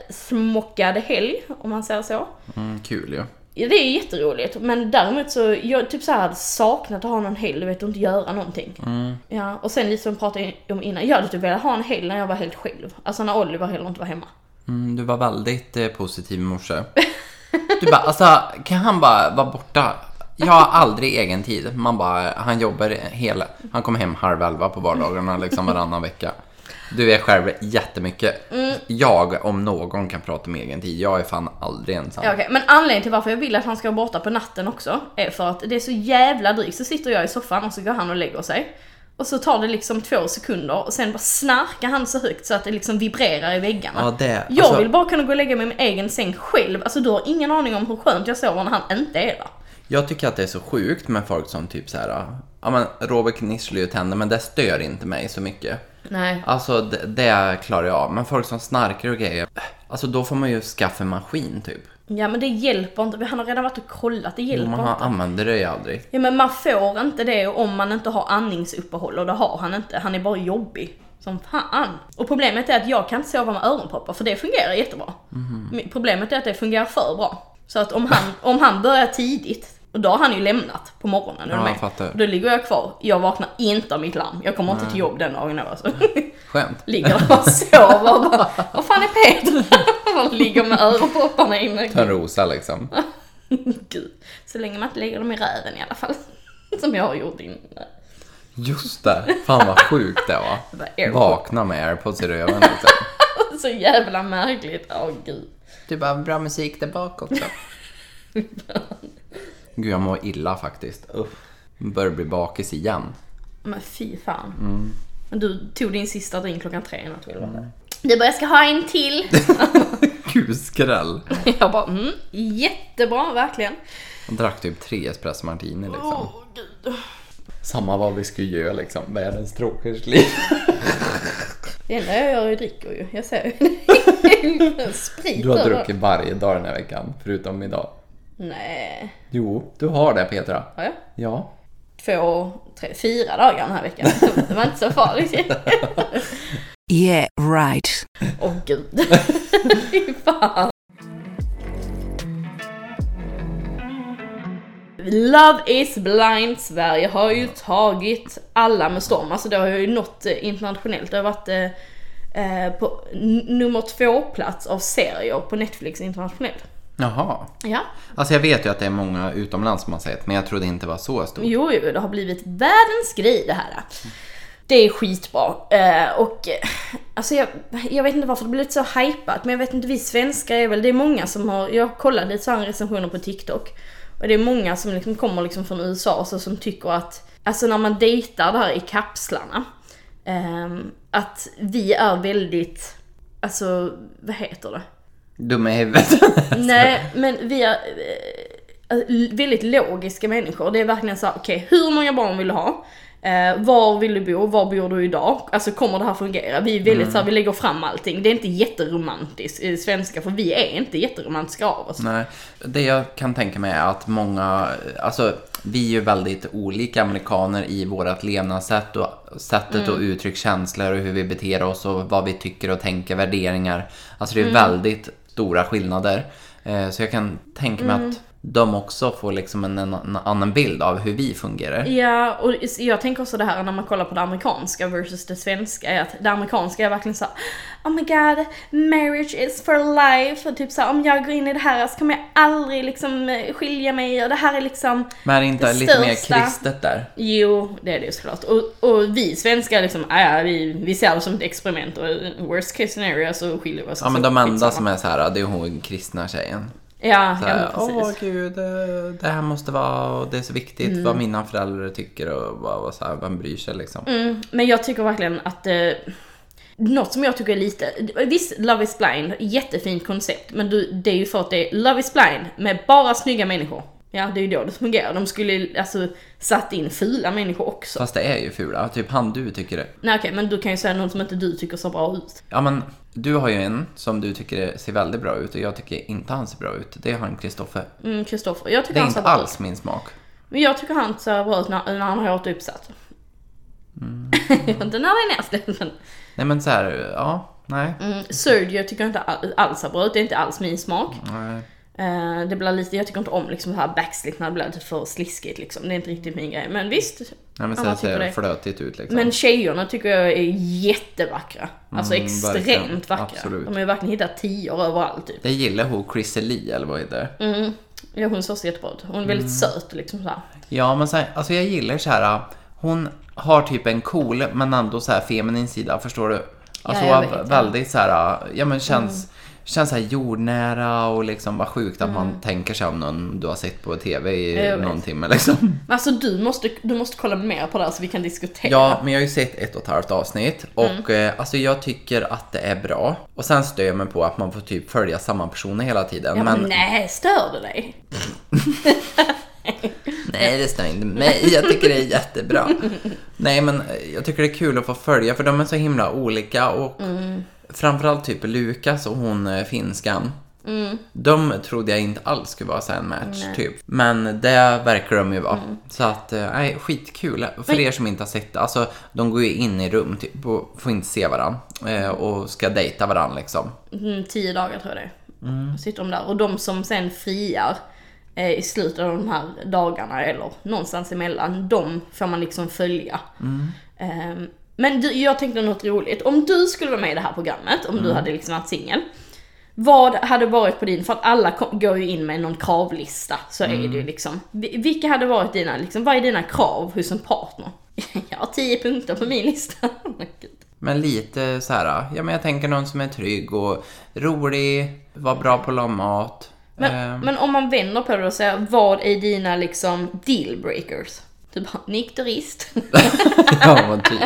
Speaker 4: fullsmockad helg om man säger så.
Speaker 3: Mm, kul ju.
Speaker 4: Ja, Det är jätteroligt men däremot så, jag typ så här hade saknat att ha någon helg du vet och inte göra någonting. Ja, och sen lite som jag pratade om innan, jag hade typ velat ha en helg när jag var helt själv. Alltså när Oliver heller inte var hemma.
Speaker 3: Mm, du var väldigt eh, positiv i morse. Du bara, alltså kan han bara vara borta? Jag har aldrig egen tid. Man bara, han jobbar hela... Han kommer hem halv elva på vardagarna liksom varannan vecka. Du är själv jättemycket.
Speaker 4: Mm.
Speaker 3: Jag om någon kan prata om egen tid. Jag är fan aldrig ensam.
Speaker 4: Ja, okej. Men anledningen till varför jag vill att han ska vara borta på natten också är för att det är så jävla drygt. Så sitter jag i soffan och så går han och lägger sig. Och så tar det liksom två sekunder och sen bara snarkar han så högt så att det liksom vibrerar i väggarna.
Speaker 3: Ja, det-
Speaker 4: jag
Speaker 3: alltså-
Speaker 4: vill bara kunna gå och lägga mig i min egen säng själv. Alltså du har ingen aning om hur skönt jag sover när han inte är där.
Speaker 3: Jag tycker att det är så sjukt med folk som typ så här, ja men Robert gnisslar ju tänder men det stör inte mig så mycket.
Speaker 4: Nej.
Speaker 3: Alltså det, det klarar jag av, men folk som snarkar och grejer, alltså då får man ju skaffa en maskin typ.
Speaker 4: Ja men det hjälper inte, han har redan varit och kollat, det hjälper
Speaker 3: Man har,
Speaker 4: inte.
Speaker 3: använder det ju aldrig.
Speaker 4: Ja men man får inte det om man inte har andningsuppehåll och det har han inte, han är bara jobbig. Som fan! Och problemet är att jag kan inte sova med öronproppar för det fungerar jättebra.
Speaker 3: Mhm.
Speaker 4: Men Problemet är att det fungerar för bra. Så att om han, om han börjar tidigt, och då har han ju lämnat på morgonen. är du
Speaker 3: Ja,
Speaker 4: med?
Speaker 3: jag fattar.
Speaker 4: Då ligger jag kvar, jag vaknar inte av mitt larm. Jag kommer inte till jobb den dagen då, alltså.
Speaker 3: Skönt.
Speaker 4: Ligger och sover och bara, vad fan är Peter? Bara ligger med öronpropparna inne.
Speaker 3: Ta en rosa liksom.
Speaker 4: Gud, så länge man inte lägger dem i röven i alla fall. Som jag har gjort innan.
Speaker 3: Just det, fan vad sjukt det var.
Speaker 4: Bara airpod.
Speaker 3: Vakna med airpods i röven liksom.
Speaker 4: Så jävla märkligt, åh gud.
Speaker 3: Du bara, bra musik där bak också. Gud jag mår illa faktiskt. Uff. Börjar bli bakis igen.
Speaker 4: Men fy fan.
Speaker 3: Mm.
Speaker 4: Men du tog din sista drink klockan tre i natt, vill du mm. Du bara, jag ska ha en till.
Speaker 3: Gud skräll.
Speaker 4: jag bara, mm, jättebra, verkligen.
Speaker 3: Jag drack typ tre espresso martini liksom.
Speaker 4: Åh gud.
Speaker 3: Samma vad vi skulle göra liksom. Världens tråkigaste liv.
Speaker 4: Det enda jag gör är att dricka ju, jag ser ju. Sprit
Speaker 3: Du har
Speaker 4: över.
Speaker 3: druckit varje dag den här veckan, förutom idag.
Speaker 4: Nej,
Speaker 3: Jo, du har det Petra.
Speaker 4: har jag?
Speaker 3: Ja.
Speaker 4: Två, tre, fyra dagar den här veckan. Det var inte så farligt
Speaker 9: Yeah, right.
Speaker 4: Åh gud. Fy fan. Love is blind Sverige har ju tagit alla med storm. Alltså det har ju nått eh, internationellt. Det har varit eh, eh, på n- nummer två plats av serier på Netflix internationellt.
Speaker 3: Jaha.
Speaker 4: Ja.
Speaker 3: Alltså jag vet ju att det är många utomlands som har sett, men jag trodde inte det var så stort.
Speaker 4: Jo, jo, det har blivit världens grej det här. Det är skitbra. Eh, och eh, alltså jag, jag vet inte varför det blivit så hypat, men jag vet inte, vi svenskar är väl, det är många som har, jag kollade lite så här recensioner på TikTok. Och det är många som liksom kommer liksom från USA och så som tycker att, alltså när man dejtar där i kapslarna, ehm, att vi är väldigt, alltså vad heter det?
Speaker 3: Dumma i huvudet.
Speaker 4: Nej, men vi är eh, eh, väldigt logiska människor. Det är verkligen så här, okej, hur många barn vill du ha? Eh, var vill du bo? Var bor du idag? Alltså kommer det här fungera? Vi är väldigt så här, vi lägger fram allting. Det är inte jätteromantiskt i svenska, för vi är inte jätteromantiska av oss.
Speaker 3: Nej, det jag kan tänka mig är att många, alltså vi är ju väldigt olika amerikaner i vårat levnadssätt och sättet
Speaker 4: Mm.
Speaker 3: att uttrycka känslor och hur vi beter oss och vad vi tycker och tänker, värderingar. Alltså
Speaker 4: Mm.
Speaker 3: det är väldigt stora skillnader. Eh, Så jag kan tänka mig
Speaker 4: Mm.
Speaker 3: att de också får liksom en, en annan bild av hur vi fungerar.
Speaker 4: Ja, och jag tänker också det här när man kollar på det amerikanska versus det svenska, är att det amerikanska är verkligen så här, Oh my god, marriage is for life. Och typ så här, om jag går in i det här så kommer jag aldrig liksom eh, skilja mig och det här är liksom
Speaker 3: Men är det inte
Speaker 4: Det
Speaker 3: lite mer
Speaker 4: största.
Speaker 3: kristet där?
Speaker 4: Jo, det är det ju såklart. Och, och vi svenskar liksom, ja, ja, vi, vi ser det som ett experiment och worst case scenario så skiljer vi oss.
Speaker 3: Ja men de
Speaker 4: Skitsamma.
Speaker 3: enda som är så här, det är hon kristna tjejen.
Speaker 4: Ja,
Speaker 3: Så
Speaker 4: ja
Speaker 3: här,
Speaker 4: men
Speaker 3: Åh
Speaker 4: precis.
Speaker 3: gud, eh, det här måste vara, och det är så viktigt
Speaker 4: Mm.
Speaker 3: vad mina föräldrar tycker och vad, vad så här, vem bryr sig liksom.
Speaker 4: Men jag tycker verkligen att eh, något som jag tycker är lite, visst Love is blind, jättefint koncept, men du, det är ju för att det är Love is blind med bara snygga människor. Ja, det är ju då det fungerar. De skulle ju, alltså satt in fula människor också.
Speaker 3: Fast det är ju fula, typ han du tycker det.
Speaker 4: Nej okej, men du kan ju säga någon som inte du tycker ser bra ut.
Speaker 3: Ja men, du har ju en som du tycker ser väldigt bra ut och jag tycker inte han ser bra ut. Det är han Kristoffer.
Speaker 4: Mm, Kristoffer, jag tycker
Speaker 3: Det är
Speaker 4: han ser
Speaker 3: inte
Speaker 4: bra ut.
Speaker 3: alls min smak.
Speaker 4: Men jag tycker han ser bra ut när, när han har hårt uppsatt.
Speaker 3: Mm.
Speaker 4: inte när det är näst. men-
Speaker 3: Nej men så här, ja, nej.
Speaker 4: Mm, Sergio tycker jag inte all- alls ser bra ut, det är inte alls min smak.
Speaker 3: nej.
Speaker 4: Eh, det blir lite, jag tycker inte om liksom det här backslip när det blir lite för sliskigt liksom. Det är inte riktigt min grej. Men visst.
Speaker 3: Nej men så
Speaker 4: alla
Speaker 3: här
Speaker 4: tycker
Speaker 3: ser det
Speaker 4: det.
Speaker 3: flötigt ut liksom.
Speaker 4: Men tjejerna tycker jag är jättevackra. Alltså
Speaker 3: Mm,
Speaker 4: extremt
Speaker 3: verkligen.
Speaker 4: vackra.
Speaker 3: Absolut.
Speaker 4: De har ju verkligen hittat tior överallt typ.
Speaker 3: Det gillar hon, Chrissie Lee eller vad heter det?
Speaker 4: Mm. Ja, hon ser så jättebra ut. Hon är väldigt
Speaker 3: Mm.
Speaker 4: söt liksom så här.
Speaker 3: Ja, men så här, alltså jag gillar så här. Hon har typ en cool men ändå så här feminin sida, förstår du? Alltså hon
Speaker 4: jag
Speaker 3: har
Speaker 4: vet, ja. Mm.
Speaker 3: väldigt så här, ja men känns, känns så här jordnära och liksom vad sjukt att man tänker sig om någon du har sett på TV i
Speaker 4: Mm. Jag vet.
Speaker 3: någon timme liksom.
Speaker 4: Men alltså du måste, du måste kolla mer på det här så vi kan diskutera.
Speaker 3: Ja, men jag har ju sett ett och ett halvt avsnitt och
Speaker 4: Mm.
Speaker 3: eh, alltså jag tycker att det är bra. Och sen stör jag mig på att man får typ följa samma personer hela tiden.
Speaker 4: Ja, men,
Speaker 3: men
Speaker 4: nej, stör det dig?
Speaker 3: Nej, det stör inte mig. Jag tycker det är jättebra. Nej, men jag tycker det är kul att få följa för de är så himla olika och framförallt typ Lukas och hon eh, finskan. De trodde jag inte alls skulle vara så här en match, typ. Men det verkar de ju vara. Så att, eh, nej, skitkul. För er som inte har sett det, alltså de går ju in i rum typ och får inte se varandra. Eh, och ska dejta varandra liksom.
Speaker 4: Mm, tio dagar tror jag det är. Sitter de där. Och de som sen friar eh, i slutet av de här dagarna eller någonstans emellan, de får man liksom följa. Ehm, men du, jag tänkte något roligt. Om du skulle vara med i det här programmet, om du hade liksom varit singel. Vad hade varit på din, för att alla kom, går ju in med någon kravlista, så är det ju liksom. Vi- Vilka hade varit dina, liksom, vad är dina krav hos en partner? Jag har tio punkter på min lista. Gud.
Speaker 3: Men lite så här, ja men jag tänker någon som är trygg och rolig, var bra på att laga mat.
Speaker 4: Men,
Speaker 3: Ehm,
Speaker 4: men om man vänder på det och säger, vad är dina liksom dealbreakers? Typ nykterist.
Speaker 3: ja, men typ.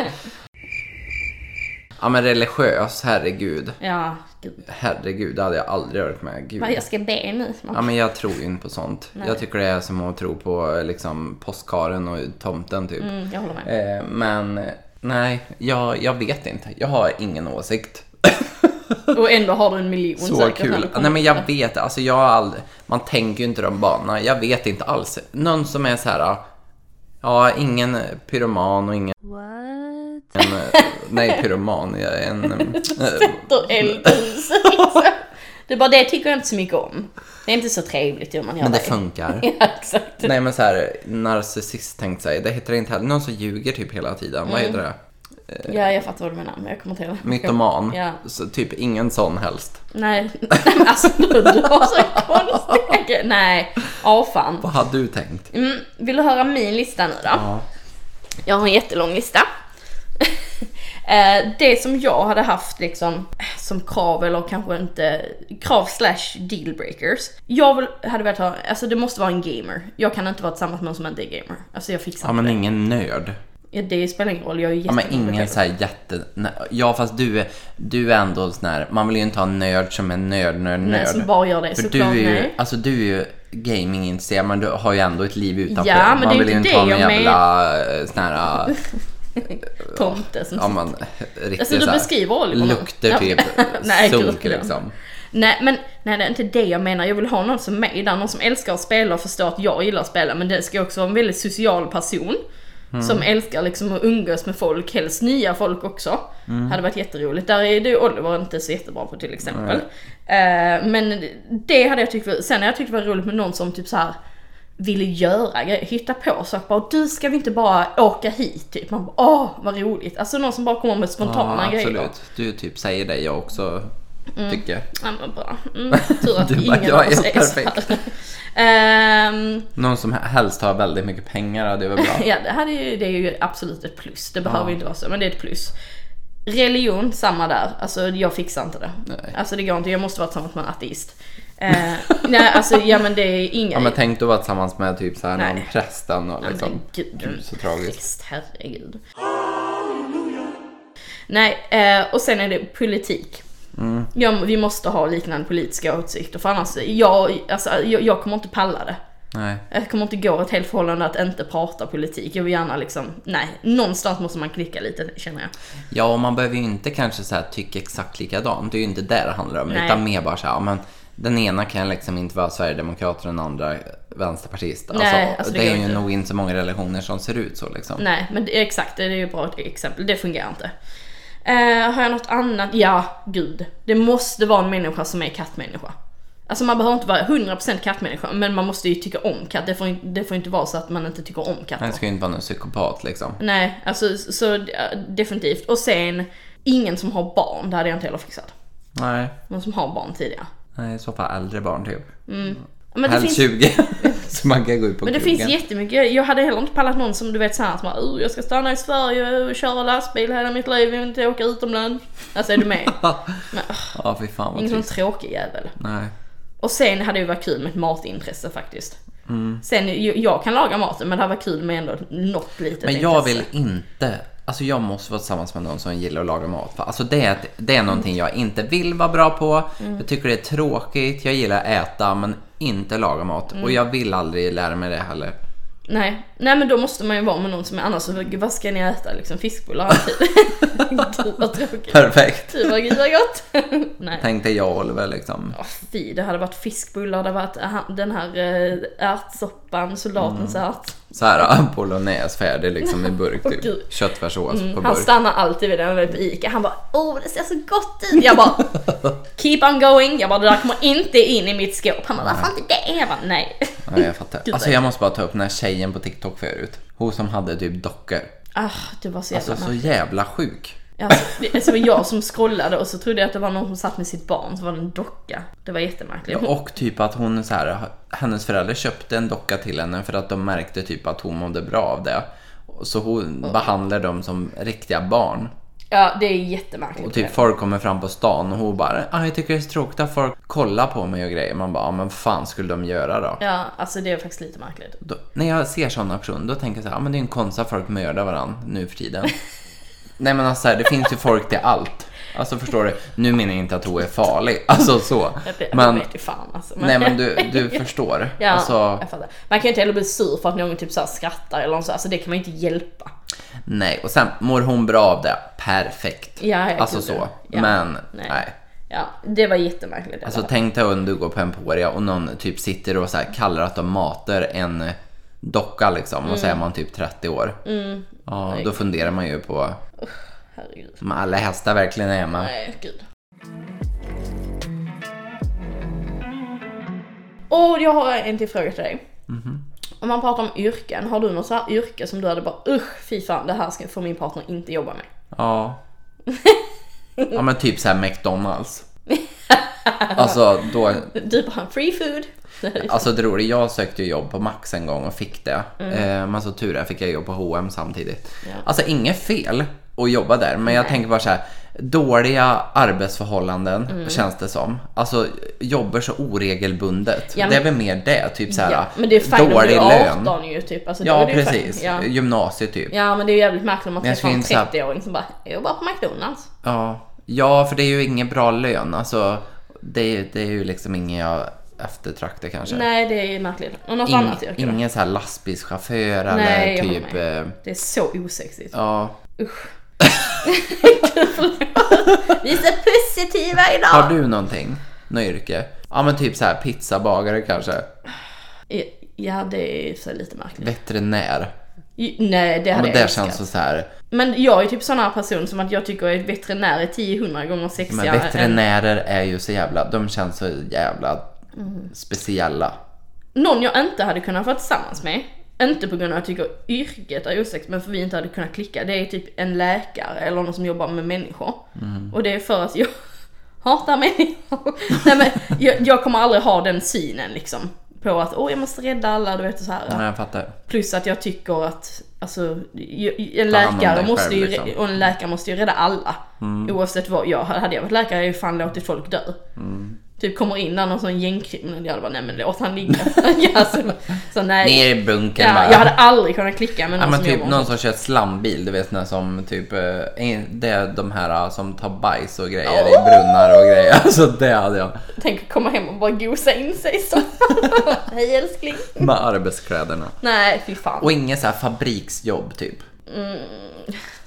Speaker 3: Ja men religiös, herregud.
Speaker 4: ja, gud.
Speaker 3: Herregud, det hade jag aldrig varit med. Gud.
Speaker 4: Vad jag ska be nu.
Speaker 3: Ja men jag tror ju inte på sånt. Jag tycker det är som att tro på eh, liksom postkaren och tomten typ.
Speaker 4: Mm, jag håller med.
Speaker 3: Eh, men eh, nej, jag, jag vet inte. Jag har ingen åsikt.
Speaker 4: Och ändå har du en miljon
Speaker 3: Eh. Så
Speaker 4: säkert när
Speaker 3: kul.
Speaker 4: du kommer
Speaker 3: Nej men
Speaker 4: upp
Speaker 3: jag
Speaker 4: där.
Speaker 3: vet, alltså jag har aldrig, man tänker ju inte de banorna. Jag vet inte alls. Någon som är så här, ah, ja ingen pyroman och ingen,
Speaker 5: What?
Speaker 3: nej pyroman, jag är en, eh,
Speaker 4: Sätter eld i sig, liksom. Det är bara det tycker jag inte så mycket om. Det är inte så trevligt hur man gör
Speaker 3: Men det funkar.
Speaker 4: Ja, exakt.
Speaker 3: Nej men så här, narcissist tänkte jag säga. Det heter det inte heller. Någon som ljuger typ hela tiden. Vad
Speaker 4: Mm.
Speaker 3: heter det?
Speaker 4: Ja, jag fattar vad du menar, men jag kommer inte ihåg.
Speaker 3: Mytoman.
Speaker 4: Ja.
Speaker 3: Så typ ingen sån helst.
Speaker 4: Nej, Nej, men alltså du, du har så konstiga grejer. Nej, avfan.
Speaker 3: Vad hade du tänkt?
Speaker 4: Mm, vill du höra min lista nu då? Jag har en jättelång lista. Eh, det som jag hade haft liksom som krav eller kanske inte krav slash dealbreakers. Jag vill, hade velat ha, alltså det måste vara en gamer. Jag kan inte vara tillsammans med någon som inte är gamer. Alltså jag fixar
Speaker 3: Ja
Speaker 4: inte
Speaker 3: men ingen nörd.
Speaker 4: det. Ja, det spelar ingen roll, jag är ju
Speaker 3: Ja men
Speaker 4: jättedålig på det.
Speaker 3: ingen såhär jätte... nej, Ja fast du är, du är ändå en sån här, man vill ju inte ha en nörd som är nörd, nörd, nörd.
Speaker 4: Nej, som bara gör det
Speaker 3: För du
Speaker 4: såklart,
Speaker 3: är ju,
Speaker 4: nej.
Speaker 3: alltså du är ju gamingintresserad men du har ju ändå ett liv utanför.
Speaker 4: Ja, men det är
Speaker 3: man
Speaker 4: ju
Speaker 3: vill ju
Speaker 4: inte
Speaker 3: inte ha en
Speaker 4: det jag men-
Speaker 3: jävla eh, sån här, eh,
Speaker 4: Tomte som
Speaker 3: ja men riktigt
Speaker 4: Alltså, du
Speaker 3: så här
Speaker 4: beskriver Oliver nu.
Speaker 3: Lukter
Speaker 4: Ja.
Speaker 3: typ
Speaker 4: Nej, gud,
Speaker 3: sunk
Speaker 4: ja.
Speaker 3: liksom.
Speaker 4: Nej men nej, det är inte det jag menar. Jag vill ha någon som mig där. Någon som älskar att spela och förstår att jag gillar att spela. Men det ska också vara en väldigt social person.
Speaker 3: Mm.
Speaker 4: Som älskar liksom att umgås med folk, helst nya folk också.
Speaker 3: Mm.
Speaker 4: Hade varit jätteroligt. Där är du Oliver inte så jättebra på till exempel. Eh, men det hade jag tyckt var, sen har jag tyckt det var roligt med någon som typ så här ville göra grejer, hitta på saker bara, du ska vi inte bara åka hit typ? Man bara, åh vad roligt. Alltså någon som bara kommer med spontana
Speaker 3: Ja,
Speaker 4: grejer. Mm.
Speaker 3: absolut. Du typ säger det jag också tycker.
Speaker 4: Ja men bra. Mm, tur att
Speaker 3: Du bara,
Speaker 4: ingen
Speaker 3: "Jag
Speaker 4: av oss
Speaker 3: är
Speaker 4: är perfekt.
Speaker 3: perfekt."
Speaker 4: Ehm,
Speaker 3: Någon som helst har väldigt mycket pengar hade varit bra.
Speaker 4: ja det här är ju, det är ju absolut ett plus. Det behöver ju inte vara så men det är ett plus. Religion, samma där. Alltså jag fixar inte det.
Speaker 3: Nej.
Speaker 4: Alltså det går inte, jag måste vara tillsammans med en ateist. Eh, nej alltså ja men det är inga...
Speaker 3: Ja men tänk du vara tillsammans med typ såhär någon
Speaker 4: Nej.
Speaker 3: präst eller något,
Speaker 4: Nej,
Speaker 3: liksom.
Speaker 4: men gud,
Speaker 3: Gud, så tragiskt.
Speaker 4: Christ, herregud. Nej, eh, och sen är det politik.
Speaker 3: Mm.
Speaker 4: Ja, vi måste ha liknande politiska åsikter för annars, jag, alltså, jag, jag kommer inte palla det.
Speaker 3: Nej.
Speaker 4: Jag kommer inte gå ett helt förhållande att inte prata politik. Jag vill gärna liksom, nej, någonstans måste man klicka lite känner jag.
Speaker 3: Ja och man behöver ju inte kanske så här tycka exakt likadant. Det är ju inte det det handlar om.
Speaker 4: Nej.
Speaker 3: Utan mer bara såhär, ja, men den ena kan liksom inte vara sverigedemokrat och den andra vänsterpartist. Alltså,
Speaker 4: Nej, alltså det
Speaker 3: det, är
Speaker 4: går
Speaker 3: ju
Speaker 4: inte.
Speaker 3: nog inte så många relationer som ser ut så liksom.
Speaker 4: Nej, men det, exakt, det är ju ett bra exempel. Det fungerar inte. Eh, har jag något annat? Ja, gud. Det måste vara en människa som är kattmänniska. Alltså man behöver inte vara 100% kattmänniska, men man måste ju tycka om katt. Det får, ju- det får inte vara så att man inte tycker om katter.
Speaker 3: Han ska ju inte vara någon psykopat liksom.
Speaker 4: Nej, alltså så eh, definitivt. Och sen, ingen som har barn. Det hade jag inte heller fixat.
Speaker 3: Nej.
Speaker 4: Någon som har barn tidigare.
Speaker 3: Nej, i så fall äldre barn typ.
Speaker 4: Men det
Speaker 3: Helst
Speaker 4: finns-
Speaker 3: 20. så man kan gå ut på
Speaker 4: Men det
Speaker 3: krogen.
Speaker 4: finns jättemycket, jag hade heller inte pallat någon som du vet såhär som bara "Uh, jag ska stanna i Sverige och köra lastbil hela mitt liv, jag vill inte åka utomlands. Alltså är du med? Men, ugh,
Speaker 3: Ja, fy fan vad
Speaker 4: ingen sån
Speaker 3: trist.
Speaker 4: tråkig jävel.
Speaker 3: Nej.
Speaker 4: Och sen hade det ju varit kul med ett matintresse faktiskt.
Speaker 3: Mm.
Speaker 4: Sen, ju- jag kan laga maten men det hade varit kul med ändå något litet
Speaker 3: Men jag
Speaker 4: intresse.
Speaker 3: vill inte, alltså jag måste vara tillsammans med någon som gillar att laga mat. För alltså det, är ett- det är någonting jag inte vill vara bra på. Jag tycker det är tråkigt, jag gillar att äta men inte laga mat. Och jag vill aldrig lära mig det heller.
Speaker 4: Nej. Nej men då måste man ju vara med någon som är annars, så, vad ska ni äta liksom? Fiskbullar alltid. Gud vad tråkigt.
Speaker 3: Perfekt.
Speaker 4: Fy vad gud vad gott. Nej.
Speaker 3: Tänkte jag och Oliver liksom.
Speaker 4: Åh, Fy, det hade varit fiskbullar, det hade varit aha, den här eh, ärtsoppan, soldatens
Speaker 3: Mm.
Speaker 4: ärt.
Speaker 3: Så här bolognese färdig liksom i burk
Speaker 4: Åh,
Speaker 3: typ.
Speaker 4: gud. Mm,
Speaker 3: Köttfärssås på
Speaker 4: Han
Speaker 3: burk.
Speaker 4: stannar alltid vid den när vi är på Ica. Han bara åh det ser så gott ut. Jag bara keep on going. Jag bara det där kommer inte in i mitt skåp. Han bara varför inte det? Jag bara nej.
Speaker 3: Ja, jag fattar.
Speaker 4: Gud,
Speaker 3: Alltså jag måste bara ta upp den här tjejen på TikTok förut. Hon som hade typ dockor.
Speaker 4: Ah, det var så jävla
Speaker 3: Alltså så
Speaker 4: alltså,
Speaker 3: jävla sjuk.
Speaker 4: alltså, det, alltså, det var jag som scrollade och så trodde jag att det var någon som satt med sitt barn så var det en docka. Det var jättemärkligt.
Speaker 3: Och typ att hon så här, hennes föräldrar köpte en docka till henne för att de märkte typ att hon mådde bra av det. Så hon behandlar dem som riktiga barn.
Speaker 4: Ja det är jättemärkligt.
Speaker 3: Och typ folk kommer fram på stan och hon bara ah, “Jag tycker det är så tråkigt att folk kollar på mig och grejer”. Man bara ah, “Men fan skulle de göra då?”
Speaker 4: Ja alltså det är faktiskt lite märkligt.
Speaker 3: då när jag ser sådana personer då tänker jag så här, ah, men det är ju en konst att folk mördar varandra nu för tiden. Nej men alltså så här, det finns ju folk till allt. Alltså förstår du? Nu menar jag inte att hon är farlig, alltså så.
Speaker 4: Det, men,
Speaker 3: Men,
Speaker 4: vet ju fan alltså.
Speaker 3: nej men du, du förstår.
Speaker 4: Ja,
Speaker 3: Alltså,
Speaker 4: jag fattar. Man kan ju inte heller bli sur för att någon typ så här skrattar eller något så, alltså det kan man ju inte hjälpa.
Speaker 3: Nej, och sen mår hon bra av det. Perfekt.
Speaker 4: Ja, jag
Speaker 3: alltså
Speaker 4: tror
Speaker 3: så.
Speaker 4: det. Ja.
Speaker 3: Men
Speaker 4: Nej.
Speaker 3: nej.
Speaker 4: Ja, det var jättemärkligt.
Speaker 3: Alltså tänk dig om du går på Emporia och någon typ sitter och så här kallar att de matar en docka liksom och så är man typ 30 år. Ja, då funderar man ju på
Speaker 4: Herregud.
Speaker 3: om alla hästar verkligen är hemma.
Speaker 4: Nej, gud. Och jag har en till fråga till dig.
Speaker 3: Mhm.
Speaker 4: Om man pratar om yrken, har du något så här yrke som du hade bara usch fy fan det här ska, får min partner inte jobba med?
Speaker 3: Ja. ja men typ såhär McDonalds. Alltså, då,
Speaker 4: Du bara free food.
Speaker 3: alltså det roliga, jag sökte ju jobb på Max en gång och fick det.
Speaker 4: Mm.
Speaker 3: Eh, men så tur är fick jag jobb på H&M samtidigt. Alltså inget fel att jobba där, men jag tänker bara så här. Dåliga arbetsförhållanden
Speaker 4: Mm.
Speaker 3: känns det som. Alltså jobbar så oregelbundet.
Speaker 4: Ja, men-
Speaker 3: det är väl mer det, typ så här
Speaker 4: ja, men det är fine om du
Speaker 3: dålig
Speaker 4: är
Speaker 3: lön.
Speaker 4: 18 ju typ. Alltså, då
Speaker 3: Ja
Speaker 4: är det ju
Speaker 3: precis,
Speaker 4: fine. Ja.
Speaker 3: gymnasiet typ.
Speaker 4: ja men det är ju jävligt märkligt om man
Speaker 3: Men jag
Speaker 4: träffar en
Speaker 3: tror inte-
Speaker 4: 30-åring som bara jag jobbar på McDonalds.
Speaker 3: Ja, ja för det är ju ingen bra lön. Alltså, det, är- det är ju liksom ingen jag eftertraktar kanske.
Speaker 4: Nej det är ju märkligt. Och något
Speaker 3: Ing,
Speaker 4: annat yrke då?
Speaker 3: ingen så här lastbilschaufför
Speaker 4: Nej, jag
Speaker 3: eller
Speaker 4: håller
Speaker 3: typ...
Speaker 4: med.
Speaker 3: Eh,
Speaker 4: Det är så osexigt.
Speaker 3: ja.
Speaker 4: Vi är så positiva idag!
Speaker 3: Har du någonting? Något yrke? Ja men typ så här pizzabagare kanske.
Speaker 4: Ja det är så lite märkligt.
Speaker 3: Veterinär.
Speaker 4: Ju- Nej det
Speaker 3: Ja,
Speaker 4: hade
Speaker 3: men
Speaker 4: jag
Speaker 3: det
Speaker 4: älskat.
Speaker 3: känns så, så här.
Speaker 4: Men jag är typ sån här person som att jag tycker att veterinär är 10-100 gånger
Speaker 3: Men
Speaker 4: sexigare än...
Speaker 3: veterinärer är ju så jävla... De känns så jävla
Speaker 4: Mm.
Speaker 3: speciella.
Speaker 4: Någon jag inte hade kunnat vara tillsammans med. Inte på grund av att jag tycker yrket är osexigt men för vi inte hade kunnat klicka. Det är typ en läkare eller någon som jobbar med människor. Och det är för att jag hatar människor. Nej, men jag, jag kommer aldrig ha den synen liksom. På att åh jag måste rädda alla, du vet och så här.
Speaker 3: Ja, jag fattar.
Speaker 4: Plus att jag tycker att alltså, ju- ju- en,
Speaker 3: Ta hand om
Speaker 4: läkare
Speaker 3: dig
Speaker 4: måste
Speaker 3: själv,
Speaker 4: ju,
Speaker 3: liksom. Mm.
Speaker 4: och en läkare måste ju rädda alla. Oavsett vad jag Hade jag varit läkare hade jag ju fan låtit folk dö.
Speaker 3: Mm.
Speaker 4: Typ kommer in där någon sån gängkriminell, jag hade bara nej men låt han ligga. ja, så, så nej.
Speaker 3: Ner i bunkern
Speaker 4: Ja,
Speaker 3: bara.
Speaker 4: jag hade aldrig kunnat klicka med
Speaker 3: Ja,
Speaker 4: någon
Speaker 3: men
Speaker 4: som
Speaker 3: typ
Speaker 4: jobbar
Speaker 3: någon som kör slambil, du vet när som typ, eh, är- det är de här eh, som tar bajs och grejer i brunnar och grejer. Alltså det hade jag.
Speaker 4: Tänk att komma hem och bara gosa in sig så. Hej älskling.
Speaker 3: Med arbetskläderna.
Speaker 4: Nej fy fan.
Speaker 3: Och inget så här fabriksjobb typ.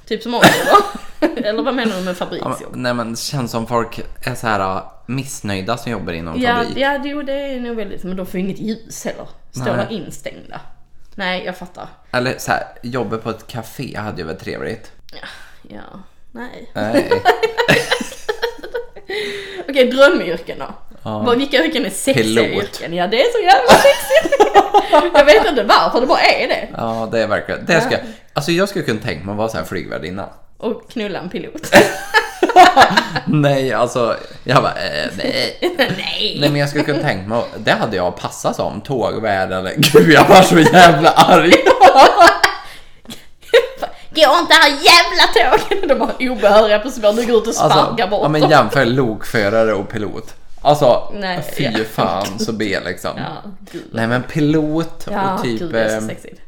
Speaker 4: Typ som oss eller? eller vad menar du med
Speaker 3: Ja,
Speaker 4: fabriksjobb?
Speaker 3: men, nej men det känns som folk är så här eh, missnöjda som jobbar inom
Speaker 4: Ja,
Speaker 3: fabrik.
Speaker 4: ja jo, det är nog väldigt, men de får ju inget ljus heller. Står
Speaker 3: Nej.
Speaker 4: där instängda. Nej, jag fattar.
Speaker 3: Eller så här, jobba på ett café hade ju varit trevligt.
Speaker 4: Ja, nej.
Speaker 3: Nej.
Speaker 4: Okej, drömyrken då. Vad- Vilka yrken är sexiga
Speaker 3: Pilot.
Speaker 4: yrken? Ja, det är så jävla sexigt. jag vet inte varför, det bara är det.
Speaker 3: Ja det är verkligen, det ska, alltså jag skulle kunna tänka mig att vara så här flygvärdinna.
Speaker 4: Och knulla en pilot.
Speaker 3: Nej alltså, jag bara eh, nej.
Speaker 4: nej.
Speaker 3: Nej men jag skulle kunna tänka mig, det hade jag passat som, tågvärd eller gud jag var så jävla arg.
Speaker 4: Gå inte här jävla tågen! De bara obehöriga på spår, du går ut och sparkar
Speaker 3: Alltså,
Speaker 4: bort
Speaker 3: ja, men
Speaker 4: dem.
Speaker 3: jämför lokförare och pilot. Alltså
Speaker 4: Nej,
Speaker 3: fy
Speaker 4: ja.
Speaker 3: fan så be liksom.
Speaker 4: Ja, gud.
Speaker 3: Nej men pilot
Speaker 4: Ja,
Speaker 3: och typ...
Speaker 4: gud det är så
Speaker 3: eh,
Speaker 4: sexigt.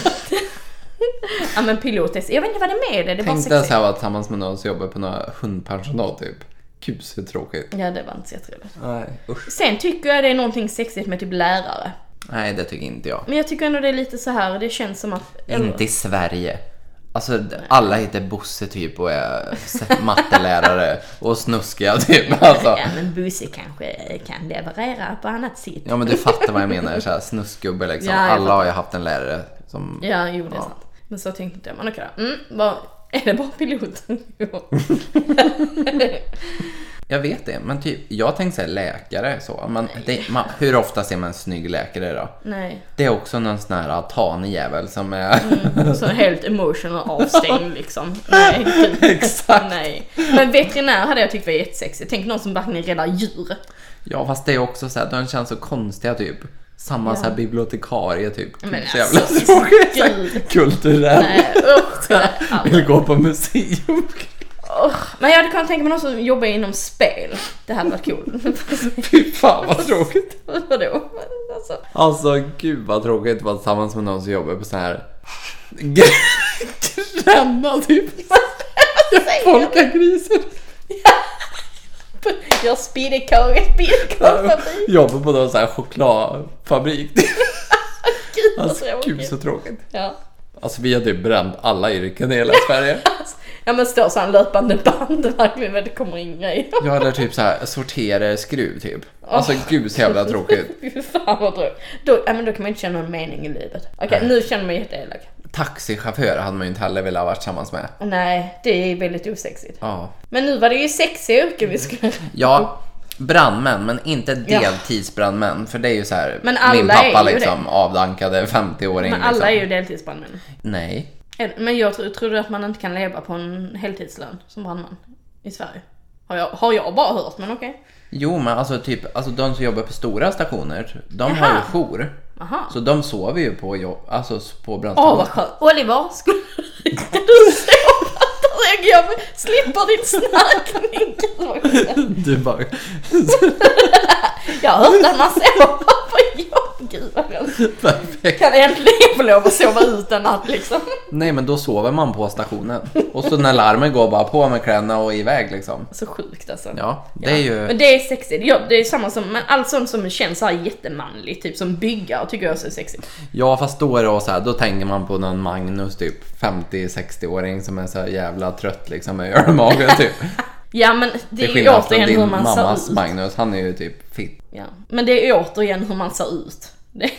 Speaker 4: ja men pilot är, jag vet inte vad det är med det, det är bara
Speaker 3: Tänk dig
Speaker 4: sexigt.
Speaker 3: så här vara tillsammans med någon som jobbar på några hundpensionat typ. Gud så tråkigt.
Speaker 4: Ja det var inte så jätteroligt.
Speaker 3: Nej usch.
Speaker 4: Sen tycker jag det är någonting sexigt med typ lärare.
Speaker 3: Nej det tycker inte jag.
Speaker 4: Men jag tycker ändå det är lite så här, det känns som att...
Speaker 3: Inte i Sverige. Alltså alla heter Bosse typ och är mattelärare och snuskiga typ. Alltså.
Speaker 4: Ja men Bosse kanske kan leverera på annat sätt.
Speaker 3: Ja men du fattar vad jag menar, så här, snuskgubbe liksom.
Speaker 4: Ja, jag
Speaker 3: Alla har
Speaker 4: fattar.
Speaker 3: ju haft en lärare som...
Speaker 4: Ja, jo det är sant. Men så tänkte inte jag. Men okej då. Mm, vad, är det bara piloten? Jo.
Speaker 3: Jag vet det, men typ, jag tänkte säga läkare så. Men det, man, hur ofta ser man en snygg läkare då?
Speaker 4: Nej.
Speaker 3: Det är också någon sån här tanig jävel som är...
Speaker 4: Så Alltså, helt emotional avstängd liksom. Nej, gud.
Speaker 3: Exakt.
Speaker 4: Nej. Men veterinär hade jag tyckt var jättesexigt. Tänk någon som verkligen räddar djur.
Speaker 3: Ja fast det är också så här, de känns så konstiga typ. Samma så här bibliotekarie typ.
Speaker 4: Men
Speaker 3: så jävla
Speaker 4: alltså,
Speaker 3: tråkigt. så här,
Speaker 4: gud.
Speaker 3: Kulturell.
Speaker 4: Nej, Eh, usch. det är aldrig.
Speaker 3: Vill gå på museum.
Speaker 4: Men jag hade kunnat tänka mig någon som jobbar inom spel. Det hade varit kul.
Speaker 3: Fy fan vad tråkigt.
Speaker 4: Vadå? Men Alltså.
Speaker 3: Alltså gud vad tråkigt att vara tillsammans med någon som jobbar på så här... Gränna typ. Folkagrisar.
Speaker 4: Jag speeder karet, bilkorg.
Speaker 3: Jobbar på någon så här chokladfabrik.
Speaker 4: Gud vad
Speaker 3: Alltså, gud så
Speaker 4: tråkigt.
Speaker 3: tråkigt.
Speaker 4: Ja.
Speaker 3: Alltså vi har typ bränt alla yrken i hela Sverige.
Speaker 4: Alltså, Ja men står så här löpande band verkligen när det kommer in grejer.
Speaker 3: Jag hade typ så här sorterar skruv typ. Alltså gud så jävla tråkigt.
Speaker 4: Fy fan vad tråkigt. Då, ja, men då kan man inte känna någon mening i livet. Okej nu känner man jätteelak.
Speaker 3: Taxichaufför hade man ju inte heller velat vara tillsammans med.
Speaker 4: Nej det är väldigt osexigt.
Speaker 3: Ja. Mm.
Speaker 4: Men nu var det ju sexiga yrken vi skulle...
Speaker 3: Ja, Brandmän, men inte
Speaker 4: Ja.
Speaker 3: deltidsbrandmän. För det är ju så här,
Speaker 4: Men alla
Speaker 3: min
Speaker 4: är
Speaker 3: pappa
Speaker 4: ju
Speaker 3: liksom, avdankade 50-åring.
Speaker 4: Men alla
Speaker 3: liksom.
Speaker 4: är ju deltidsbrandmän.
Speaker 3: Nej.
Speaker 4: Är- Men jag tro- trodde att man inte kan leva på en heltidslön som brandman i Sverige. Har jag, har jag bara hört, men okej.
Speaker 3: Jo, men alltså typ, alltså de som jobbar på stora stationer, de har
Speaker 4: Jaha.
Speaker 3: ju jour.
Speaker 4: Aha.
Speaker 3: Så de sover ju på jobb, alltså på
Speaker 4: Åh
Speaker 3: brandstationen.
Speaker 4: vad skönt. Oliver, skulle kan du sova så jag kan- slipper din snarkning?
Speaker 3: du bara...
Speaker 4: Jag hörde att man sover på jobb. Gud vad skönt.
Speaker 3: Perfekt.
Speaker 4: Kan äntligen få lov att sova ut en natt liksom.
Speaker 3: Nej, men då sover man på stationen. Och så när larmen går, bara på med kläderna och iväg liksom.
Speaker 4: Så sjukt alltså.
Speaker 3: Ja, det är ju...
Speaker 4: Men det är sexigt. Ja, det är samma som, men allt sånt som känns så här jättemanligt, typ som byggare tycker jag också är sexigt.
Speaker 3: Ja, fast då är det så här, då tänker man på någon Magnus typ 50-60-åring som är så här jävla trött liksom med öl i magen typ.
Speaker 4: Ja men det
Speaker 3: Till
Speaker 4: är ju
Speaker 3: skillnad från
Speaker 4: återigen hur
Speaker 3: din
Speaker 4: man
Speaker 3: mammas
Speaker 4: ser ut.
Speaker 3: Magnus, han är ju typ fit.
Speaker 4: Ja. Men det är återigen hur man ser ut. Det...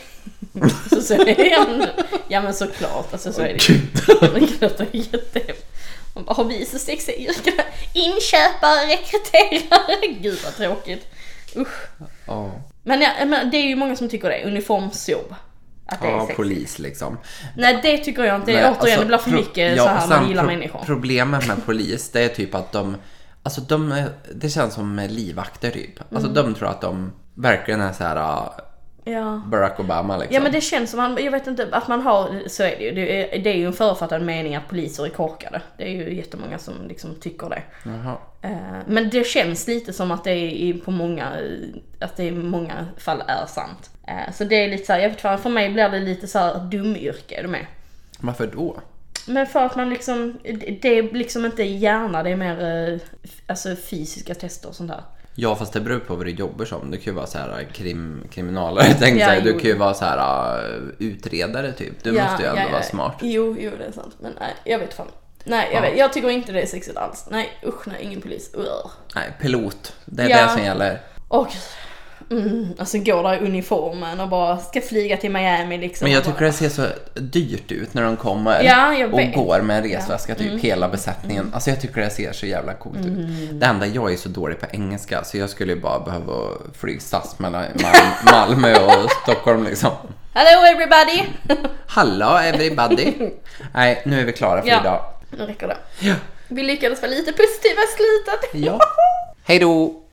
Speaker 4: så, så är det. Ja, men- Ja men såklart, alltså så är det ju. Det är jättehemskt. Man bara, har vi så sexiga yrken? Inköpare, rekryterare. Gud vad tråkigt. Usch.
Speaker 3: Ja,
Speaker 4: Men, ja, men det är ju många som tycker det, uniformsjobb. Att det är
Speaker 3: ja
Speaker 4: sexigt.
Speaker 3: polis liksom.
Speaker 4: Nej det tycker jag inte,
Speaker 3: Nej,
Speaker 4: återigen
Speaker 3: alltså,
Speaker 4: det blir för
Speaker 3: pro-
Speaker 4: mycket
Speaker 3: ja,
Speaker 4: så här
Speaker 3: sen
Speaker 4: man gillar
Speaker 3: pro-
Speaker 4: människor.
Speaker 3: Problemet med polis, det är typ att de, alltså de, är- det känns som livvakter typ.
Speaker 4: Mm.
Speaker 3: Alltså de tror att de verkligen är så här ah,
Speaker 4: ja.
Speaker 3: Barack Obama liksom.
Speaker 4: Ja men det känns som, man, jag vet inte, att man har, så är det ju. Det är, det är ju en författad mening att poliser är korkade. Det är ju jättemånga som liksom tycker det.
Speaker 3: Jaha.
Speaker 4: Eh, Men det känns lite som att det är i- på många, att det i många fall är sant. Eh, Så det är lite såhär, jag vet inte, för mig blir det lite såhär dumyrke, är du med?
Speaker 3: Varför då?
Speaker 4: Men för att man liksom, det det är liksom inte hjärna, det är mer eh, f- alltså fysiska tester och sånt där.
Speaker 3: Ja fast det beror på vad du jobbar som. Du kan ju vara så här äh, krim, kriminalare tänkte
Speaker 4: Ja,
Speaker 3: jag. Du
Speaker 4: jo.
Speaker 3: kan ju vara så här äh, utredare typ. Du måste ju ändå vara smart.
Speaker 4: Jo, jo det är sant. Men nej, jag vet fan. Nej, jag,
Speaker 3: Ja.
Speaker 4: vet, jag tycker inte det är sexigt alls. Nej, usch nej, ingen polis. Urr.
Speaker 3: Nej, pilot. Det är
Speaker 4: Ja.
Speaker 3: det som gäller.
Speaker 4: Åh gud. mm, alltså går där i uniformen och bara ska flyga till Miami liksom.
Speaker 3: Men jag
Speaker 4: Och bara-
Speaker 3: tycker det ser så dyrt ut när de kommer
Speaker 4: Ja, Mm. jag
Speaker 3: och
Speaker 4: vet.
Speaker 3: går med en resväska typ hela besättningen. Alltså jag tycker det ser så jävla coolt
Speaker 4: Mm.
Speaker 3: ut. Det enda jag är så dålig på engelska så jag skulle ju bara behöva flyga SAS mellan Mal- Malmö och Stockholm liksom.
Speaker 4: Hello everybody!
Speaker 3: Hallå everybody! Nej, nu är vi klara för
Speaker 4: Ja.
Speaker 3: idag.
Speaker 4: nu räcker det.
Speaker 3: Ja.
Speaker 4: Vi lyckades vara lite positiva i slutet.
Speaker 3: Ja. Hej då!